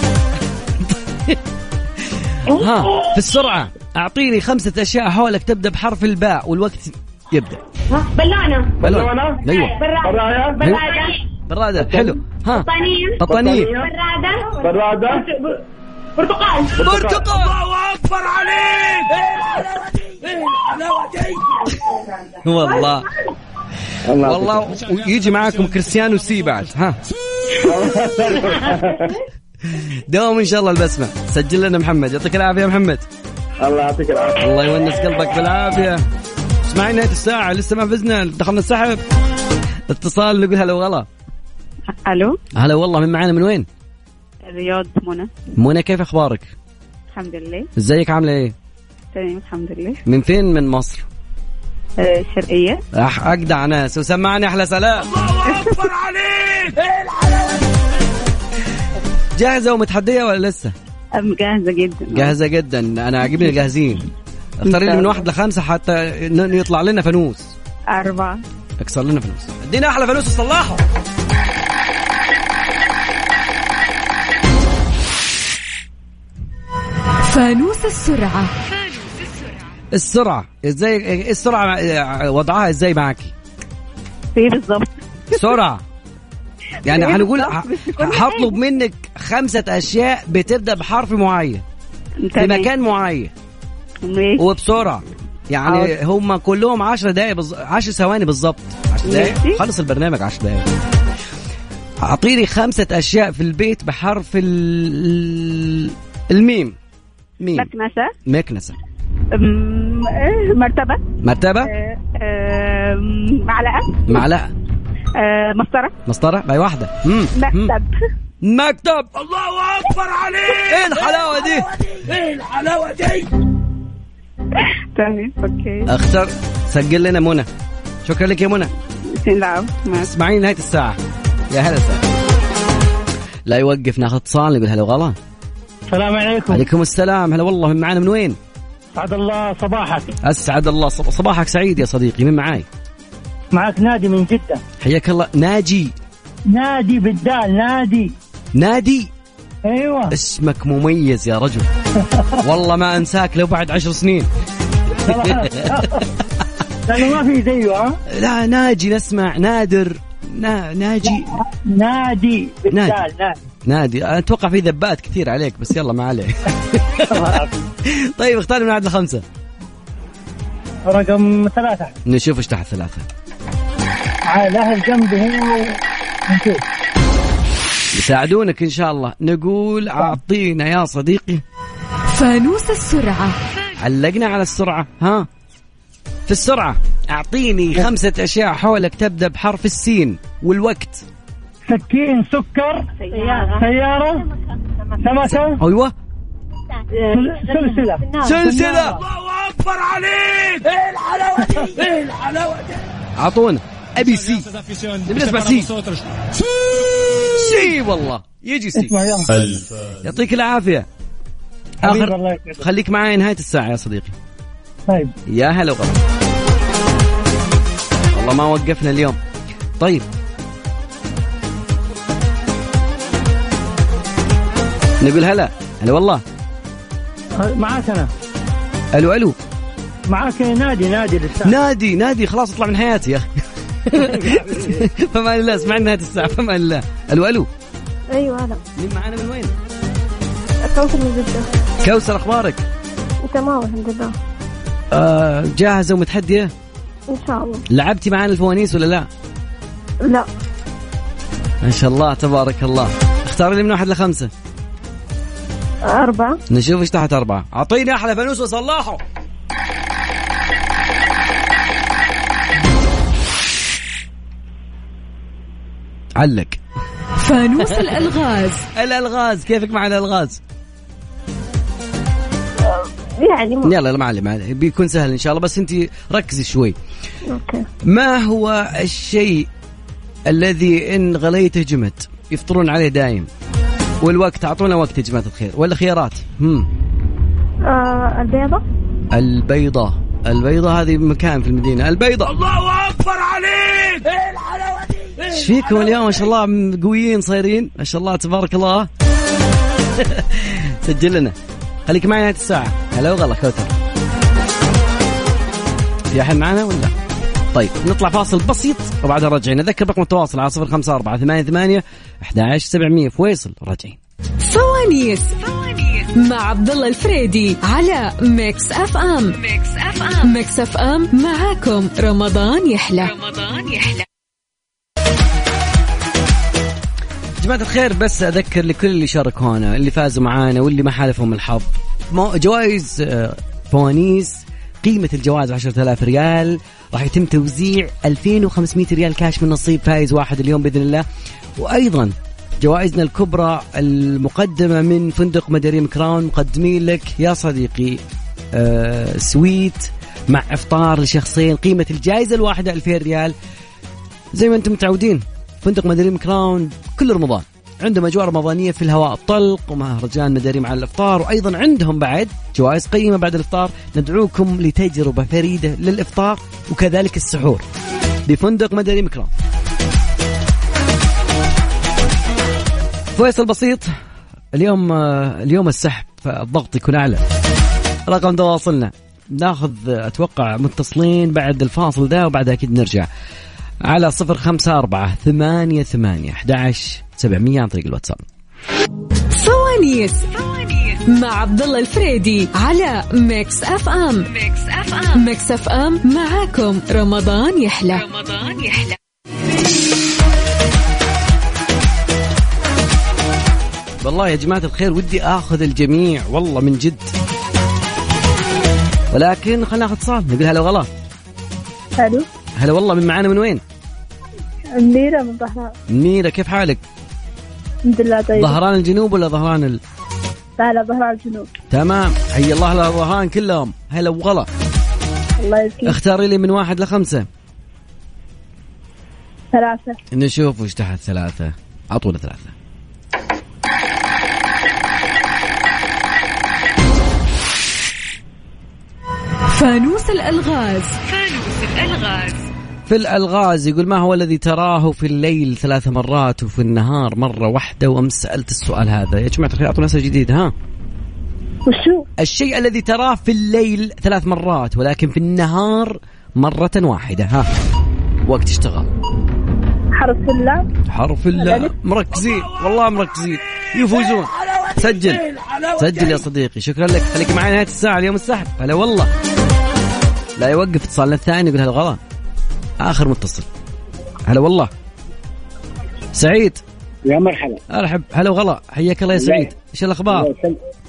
Speaker 3: <laughs> ها في السرعة أعطيني خمسة أشياء حولك تبدأ بحرف الباء والوقت يبدأ
Speaker 5: ها بلانة
Speaker 3: بلون أيوه
Speaker 5: برادة
Speaker 7: برايه
Speaker 5: برادة
Speaker 3: برادة حلو ها
Speaker 5: طنين
Speaker 3: بطانية
Speaker 5: برادة
Speaker 7: براده
Speaker 5: ب-
Speaker 9: برتقال
Speaker 3: برتقال والله
Speaker 7: <laughs>
Speaker 3: والله ويجي معاكم كريستيانو سي بعد ها دوم ان شاء الله البسمه سجل لنا محمد يعطيك العافيه يا محمد
Speaker 2: الله يعطيك العافيه
Speaker 3: الله يونس قلبك بالعافيه اسمعي نهايه الساعه لسه ما فزنا دخلنا السحب اتصال نقول هلا وغلا
Speaker 8: الو
Speaker 3: هلا والله من معانا من وين؟
Speaker 8: الرياض منى
Speaker 3: منى كيف اخبارك؟
Speaker 8: الحمد لله
Speaker 3: ازيك عامله ايه؟
Speaker 8: تمام الحمد لله
Speaker 3: من فين من مصر؟
Speaker 8: آه، شرقية
Speaker 3: أح اجدع ناس وسمعني احلى سلام جاهزه ومتحديه ولا لسه؟
Speaker 8: أم جاهزة جدا
Speaker 3: جاهزه جدا انا عاجبني الجاهزين اختاري لي من واحد لخمسه حتى ن- يطلع لنا فانوس
Speaker 8: أربعة
Speaker 3: اكسر لنا فلوس ادينا احلى فلوس وصلحه
Speaker 4: فانوس السرعة
Speaker 3: السرعه ازاي إيه السرعه آه، وضعها ازاي معاكي
Speaker 8: في إيه بالظبط <laughs>
Speaker 3: سرعه يعني
Speaker 8: إيه
Speaker 3: هنقول
Speaker 8: بالظبط؟
Speaker 3: ه-
Speaker 8: مش في كل
Speaker 3: هطلب منك خمسة أشياء بتبدأ بحرف معين في
Speaker 8: تمام.
Speaker 3: مكان معين
Speaker 8: ماشي
Speaker 3: وبسرعة يعني هم كلهم 10 دقايق بالظ... 10 ثواني بالظبط 10
Speaker 8: ماشي.
Speaker 3: دقايق خلص البرنامج 10 دقايق أعطيني خمسة أشياء في البيت بحرف ال... الميم ميم
Speaker 8: مكنسة
Speaker 3: مكنسة
Speaker 8: أم، آه، مرتبة
Speaker 3: مرتبة
Speaker 8: آه، آه، معلقة
Speaker 3: معلقة
Speaker 8: آه، مسطرة
Speaker 3: مسطرة باي واحدة مم. مم.
Speaker 8: مكتب
Speaker 3: مكتب الله أكبر عليك إيه الحلاوة دي
Speaker 8: تمام اوكي
Speaker 3: اختار سجل لنا منى شكرا لك يا منى
Speaker 8: بسم الله العافية. مع
Speaker 3: اسمعيني نهايه الساعه يا هلا سهلا لا يوقف ناخذ اتصال نقول هلا وغلا
Speaker 8: طيب.
Speaker 7: السلام عليكم
Speaker 3: عليكم السلام هلا والله من معانا من وين
Speaker 7: سعد الله صباحك
Speaker 3: اسعد الله صب- صباحك سعيد يا صديقي من معاي
Speaker 7: معك نادي من جدة
Speaker 3: حياك الله ناجي
Speaker 7: نادي بالدال نادي
Speaker 3: نادي
Speaker 7: ايوه
Speaker 3: اسمك مميز يا
Speaker 8: <laughs>
Speaker 3: رجل والله ما انساك لو بعد عشر سنين
Speaker 7: لانه ما في زيه ها
Speaker 3: لا ناجي نسمع نادر نا ناجي
Speaker 7: نادي
Speaker 3: نادي.
Speaker 7: بالدال نادي
Speaker 3: نادي أنا اتوقع في ذبات كثير عليك بس يلا ما عليك <laughs> طيب اختار من عدد الخمسه
Speaker 7: رقم ثلاثة
Speaker 3: نشوف ايش تحت ثلاثه
Speaker 7: على الاهل جنبي هنا ونشوف
Speaker 3: يساعدونك ان شاء الله نقول اعطينا يا صديقي
Speaker 4: فانوس السرعة
Speaker 3: علقنا على السرعه ها في السرعه اعطيني خمسه اشياء حولك تبدا بحرف السين والوقت
Speaker 7: سكين سكر
Speaker 8: سيارة
Speaker 7: سيارة سمكة
Speaker 3: ايوه
Speaker 7: سل- سلسلة
Speaker 3: سلسله الله اكبر عليك ايه الحلاوه دي ايه <laughs> الحلاوه دي اعطونا ابي سي نبي نسمع سي سي والله يجي سي
Speaker 7: اسمع يلا
Speaker 3: يعطيك العافيه
Speaker 7: حبيبي الله
Speaker 3: اخر
Speaker 7: يسعدك
Speaker 3: خليك معي نهايه الساعه يا صديقي
Speaker 7: طيب
Speaker 3: يا هلا وغلا والله ما وقفنا اليوم طيب نقول هلا هلا والله
Speaker 7: معاك انا
Speaker 3: الو الو
Speaker 7: معاك نادي نادي لسه
Speaker 3: نادي نادي خلاص اطلع من حياتي يا اخي <laughs> فما الله اسمعني نهايه الساعه فما الله الو الو
Speaker 5: ايوه هذا
Speaker 3: مين معانا من وين؟
Speaker 5: كوثر من جدة
Speaker 3: كوثر اخبارك؟
Speaker 5: تمام الحمد لله
Speaker 3: آه جاهزه ومتحديه؟
Speaker 5: ان شاء الله
Speaker 3: لعبتي معانا الفوانيس ولا لا؟
Speaker 5: لا
Speaker 3: ما شاء الله تبارك الله اختاري لي من واحد لخمسه
Speaker 5: أربعة
Speaker 3: نشوف ايش تحت أربعة أعطيني أحلى فانوس وصلحه علق
Speaker 4: فانوس الألغاز
Speaker 3: الألغاز كيفك مع الألغاز
Speaker 5: يعني ما.
Speaker 3: يلا لا ما عليه ما عليه بيكون سهل إن شاء الله بس أنت ركزي شوي
Speaker 5: أوكي
Speaker 3: ما هو الشيء الذي إن غليته جمد يفطرون عليه دايم والوقت أعطونا وقت يا جماعة الخير ولا خيارات هم
Speaker 5: آه البيضة
Speaker 3: البيضة البيضة هذه مكان في المدينة البيضة الله أكبر إيه، عليك ايش فيكم اليوم ما شاء الله م- قويين صايرين ما شاء الله تبارك الله <laughs> سجل لنا خليك معي نهاية الساعة هلا وغلا كوثر في أحد معنا ولا طيب نطلع فاصل بسيط وبعدها راجعين أذكر رقم التواصل على صفر خمسة أربعة ثمانية ثمانية أحد عشر سبعمية فويصل راجعين
Speaker 4: فوانيس مع عبد الله الفريدي على ميكس اف ام ميكس اف ام ميكس اف ام معاكم رمضان يحلى رمضان يحلى
Speaker 3: جماعة الخير بس أذكر لكل اللي شاركوا هنا اللي فازوا معانا واللي ما حالفهم الحظ مو- جوائز آه، فوانيس قيمة الجوائز 10000 ريال راح يتم توزيع 2500 ريال كاش من نصيب فايز واحد اليوم بإذن الله وأيضا جوائزنا الكبرى المقدمة من فندق مداريم كراون مقدمين لك يا صديقي آه، سويت مع إفطار لشخصين قيمة الجائزة الواحدة 2000 ريال زي ما انتم متعودين فندق مداريم كراون كل رمضان عندهم اجواء رمضانيه في الهواء الطلق ومهرجان مداريم على الافطار وايضا عندهم بعد جوائز قيمه بعد الافطار ندعوكم لتجربه فريده للافطار وكذلك السحور بفندق مداريم كراون فيصل بسيط اليوم آه، اليوم السحب فالضغط يكون اعلى رقم تواصلنا ناخذ اتوقع متصلين بعد الفاصل ده وبعدها اكيد نرجع على صفر خمسة أربعة ثمانية ثمانية سبعمية عن طريق الواتساب
Speaker 4: فوانيس مع عبد الله الفريدي على ميكس اف ام ميكس اف ام ميكس اف ام معاكم رمضان يحلى رمضان يحلى
Speaker 3: والله يا جماعة الخير ودي آخذ الجميع والله من جد ولكن خلينا ناخذ اتصال نقول هلا وغلا
Speaker 5: الو
Speaker 3: هلا والله من معانا من وين
Speaker 5: منيرة من ظهران
Speaker 3: ميرا كيف حالك
Speaker 5: الحمد لله طيب
Speaker 3: ظهران الجنوب ولا ظهران ال...
Speaker 5: لا لا ظهران الجنوب
Speaker 3: تمام حي الله أهل ظهران كلهم هلا وغلا
Speaker 5: الله يسلمك
Speaker 3: اختاري لي من واحد لخمسة
Speaker 5: ثلاثة
Speaker 3: نشوف وش تحت ثلاثة عطونا ثلاثة
Speaker 4: فانوس الالغاز
Speaker 3: في الألغاز يقول ما هو الذي تراه في الليل ثلاث مرات وفي النهار مرة واحدة وأمس سألت السؤال هذا يا جماعة الخير أعطونا أسئلة جديدة ها
Speaker 5: وشو
Speaker 3: الشيء الذي تراه في الليل ثلاث مرات ولكن في النهار مرة واحدة ها وقت اشتغال
Speaker 5: حرف اللام
Speaker 3: حرف الله مركزين والله مركزين يفوزون سجل سجل يا صديقي شكرا لك خليك معي نهاية الساعة اليوم السحب هلا والله لا يوقف اتصالنا الثاني يقول هلا غلط آخر متصل هلا والله سعيد
Speaker 6: يا مرحبا
Speaker 3: ارحب هلا وغلا حياك الله يا سعيد ايش الاخبار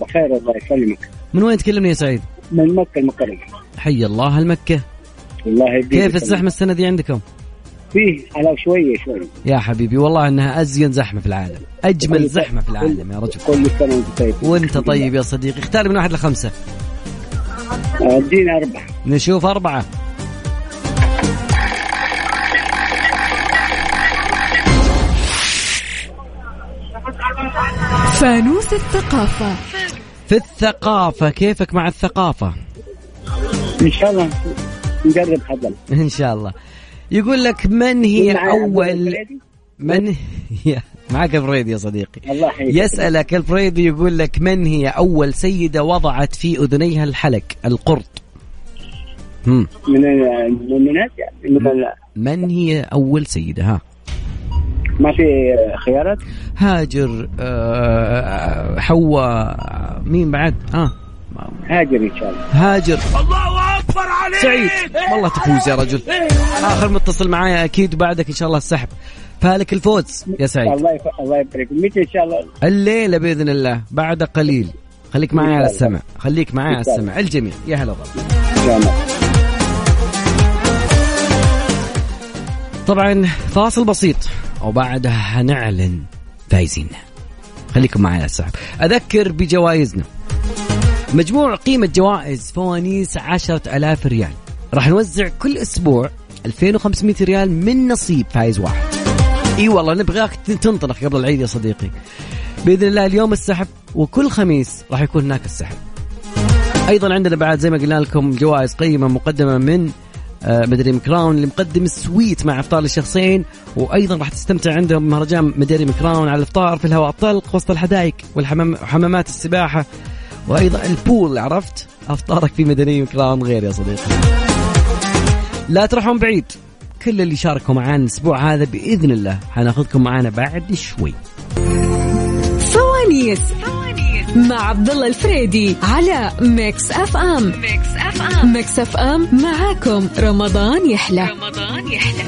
Speaker 6: بخير الله يسلمك
Speaker 3: من وين تكلمني يا سعيد
Speaker 6: من مكة المكرمة
Speaker 3: حي الله المكة
Speaker 6: الله يهديك
Speaker 3: كيف الزحمة السنة دي عندكم
Speaker 6: فيه على شوية شوية
Speaker 3: يا حبيبي والله انها ازين زحمه في العالم اجمل زحمه في العالم يا رجل
Speaker 6: كل سنة وانت طيب
Speaker 3: وانت طيب يا صديقي اختار من واحد لخمسه
Speaker 6: ادينا آه، أربعة
Speaker 3: نشوف اربعه
Speaker 4: فانوس الثقافة
Speaker 3: في الثقافه كيفك مع الثقافه
Speaker 6: إن شاء الله نجرب هذا
Speaker 3: ان شاء الله يقول لك من هي اول من هي <laughs> معك الفريدي يا صديقي
Speaker 6: الله يحييك
Speaker 3: يسألك الفريدي يقول لك من هي أول سيدة وضعت في أذنيها الحلق القرط هم.
Speaker 6: من ال- يعني. من هذا من ال-
Speaker 3: من هي أول سيدة ها
Speaker 6: ما في خيارات
Speaker 3: هاجر آه، حواء مين بعد اه
Speaker 6: هاجر ان شاء الله
Speaker 3: هاجر الله اكبر عليك إيه. سعيد والله تفوز يا رجل اخر متصل معايا اكيد وبعدك ان شاء الله السحب فالك الفوز يا سعيد
Speaker 6: الله يف- الله يبارك متى ان شاء الله
Speaker 3: الليله باذن الله بعد قليل خليك معايا على السمع خليك معايا على السمع الجميع يا هلا والله
Speaker 6: إن شاء الله.
Speaker 3: طبعا فاصل بسيط وبعدها هنعلن فايزيننا خليكم معي يا سحب أذكر بجوائزنا مجموع قيمة جوائز فوانيس عشرة ألاف ريال راح نوزع كل أسبوع 2500 ريال من نصيب فايز واحد اي والله نبغاك تنطلق قبل العيد يا صديقي باذن الله اليوم السحب وكل خميس راح يكون هناك السحب ايضا عندنا بعد زي ما قلنا لكم جوائز قيمه مقدمه من آه، مدريم كراون اللي مقدم السويت مع افطار للشخصين وايضا راح تستمتع عندهم بمهرجان مدريم كراون على الافطار في الهواء الطلق وسط الحدائق والحمام وحمامات السباحه وايضا البول عرفت افطارك في مدريم كراون غير يا صديقي لا تروحون بعيد كل اللي شاركوا معانا الاسبوع هذا باذن الله حناخذكم معانا بعد شوي
Speaker 4: فوانيس فوانيس مع عبد الله الفريدي على ميكس اف ام ميكس اف ام ميكس اف ام معاكم رمضان يحلى رمضان يحلى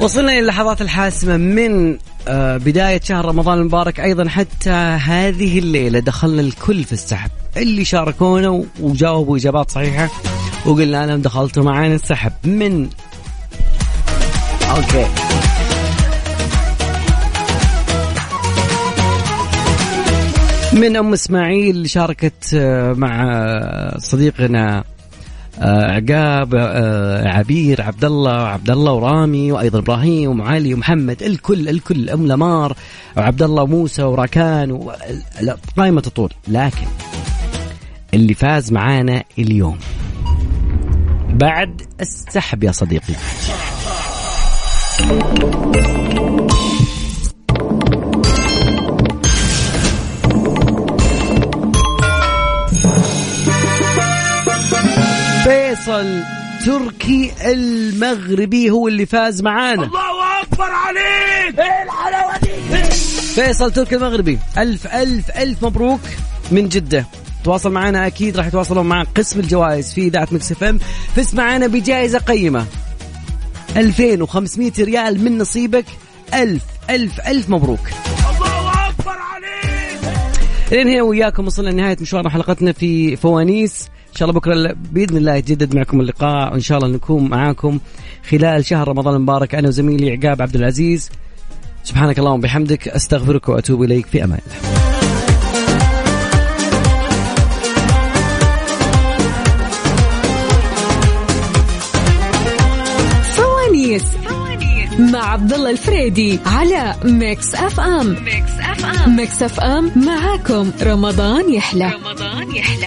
Speaker 3: وصلنا إلى اللحظات الحاسمة من آه، بداية شهر رمضان المبارك أيضا حتى هذه الليلة دخلنا الكل في السحب اللي شاركونا وجاوبوا إجابات صحيحة وقلنا أنا دخلت معانا السحب من أوكي من أم إسماعيل اللي شاركت آه، مع آه، صديقنا آه، عقاب آه، عبير عبد الله عبد الله ورامي وايضا ابراهيم وعلي ومحمد الكل الكل ام لمار وعبد الله موسى وراكان و- لا، قائمه تطول لكن اللي فاز معانا اليوم بعد السحب يا صديقي فيصل تركي المغربي هو اللي فاز معانا الله اكبر عليك ايه الحلاوه دي فيصل تركي المغربي الف الف الف مبروك من جده تواصل معنا اكيد راح يتواصلون مع قسم الجوائز في اذاعه مكس اف ام فز معانا بجائزه قيمه 2500 ريال من نصيبك الف الف الف مبروك لين هنا وياكم وصلنا لنهاية مشوار حلقتنا في فوانيس إن شاء الله بكرة بإذن الله يتجدد معكم اللقاء وإن شاء الله نكون معاكم خلال شهر رمضان المبارك أنا وزميلي عقاب عبد العزيز سبحانك اللهم وبحمدك أستغفرك وأتوب إليك في أمان الله
Speaker 4: فوانيس مع عبد الله الفريدي على ميكس اف ام ميكس اف ام ميكس اف ام معاكم رمضان يحلى رمضان يحلى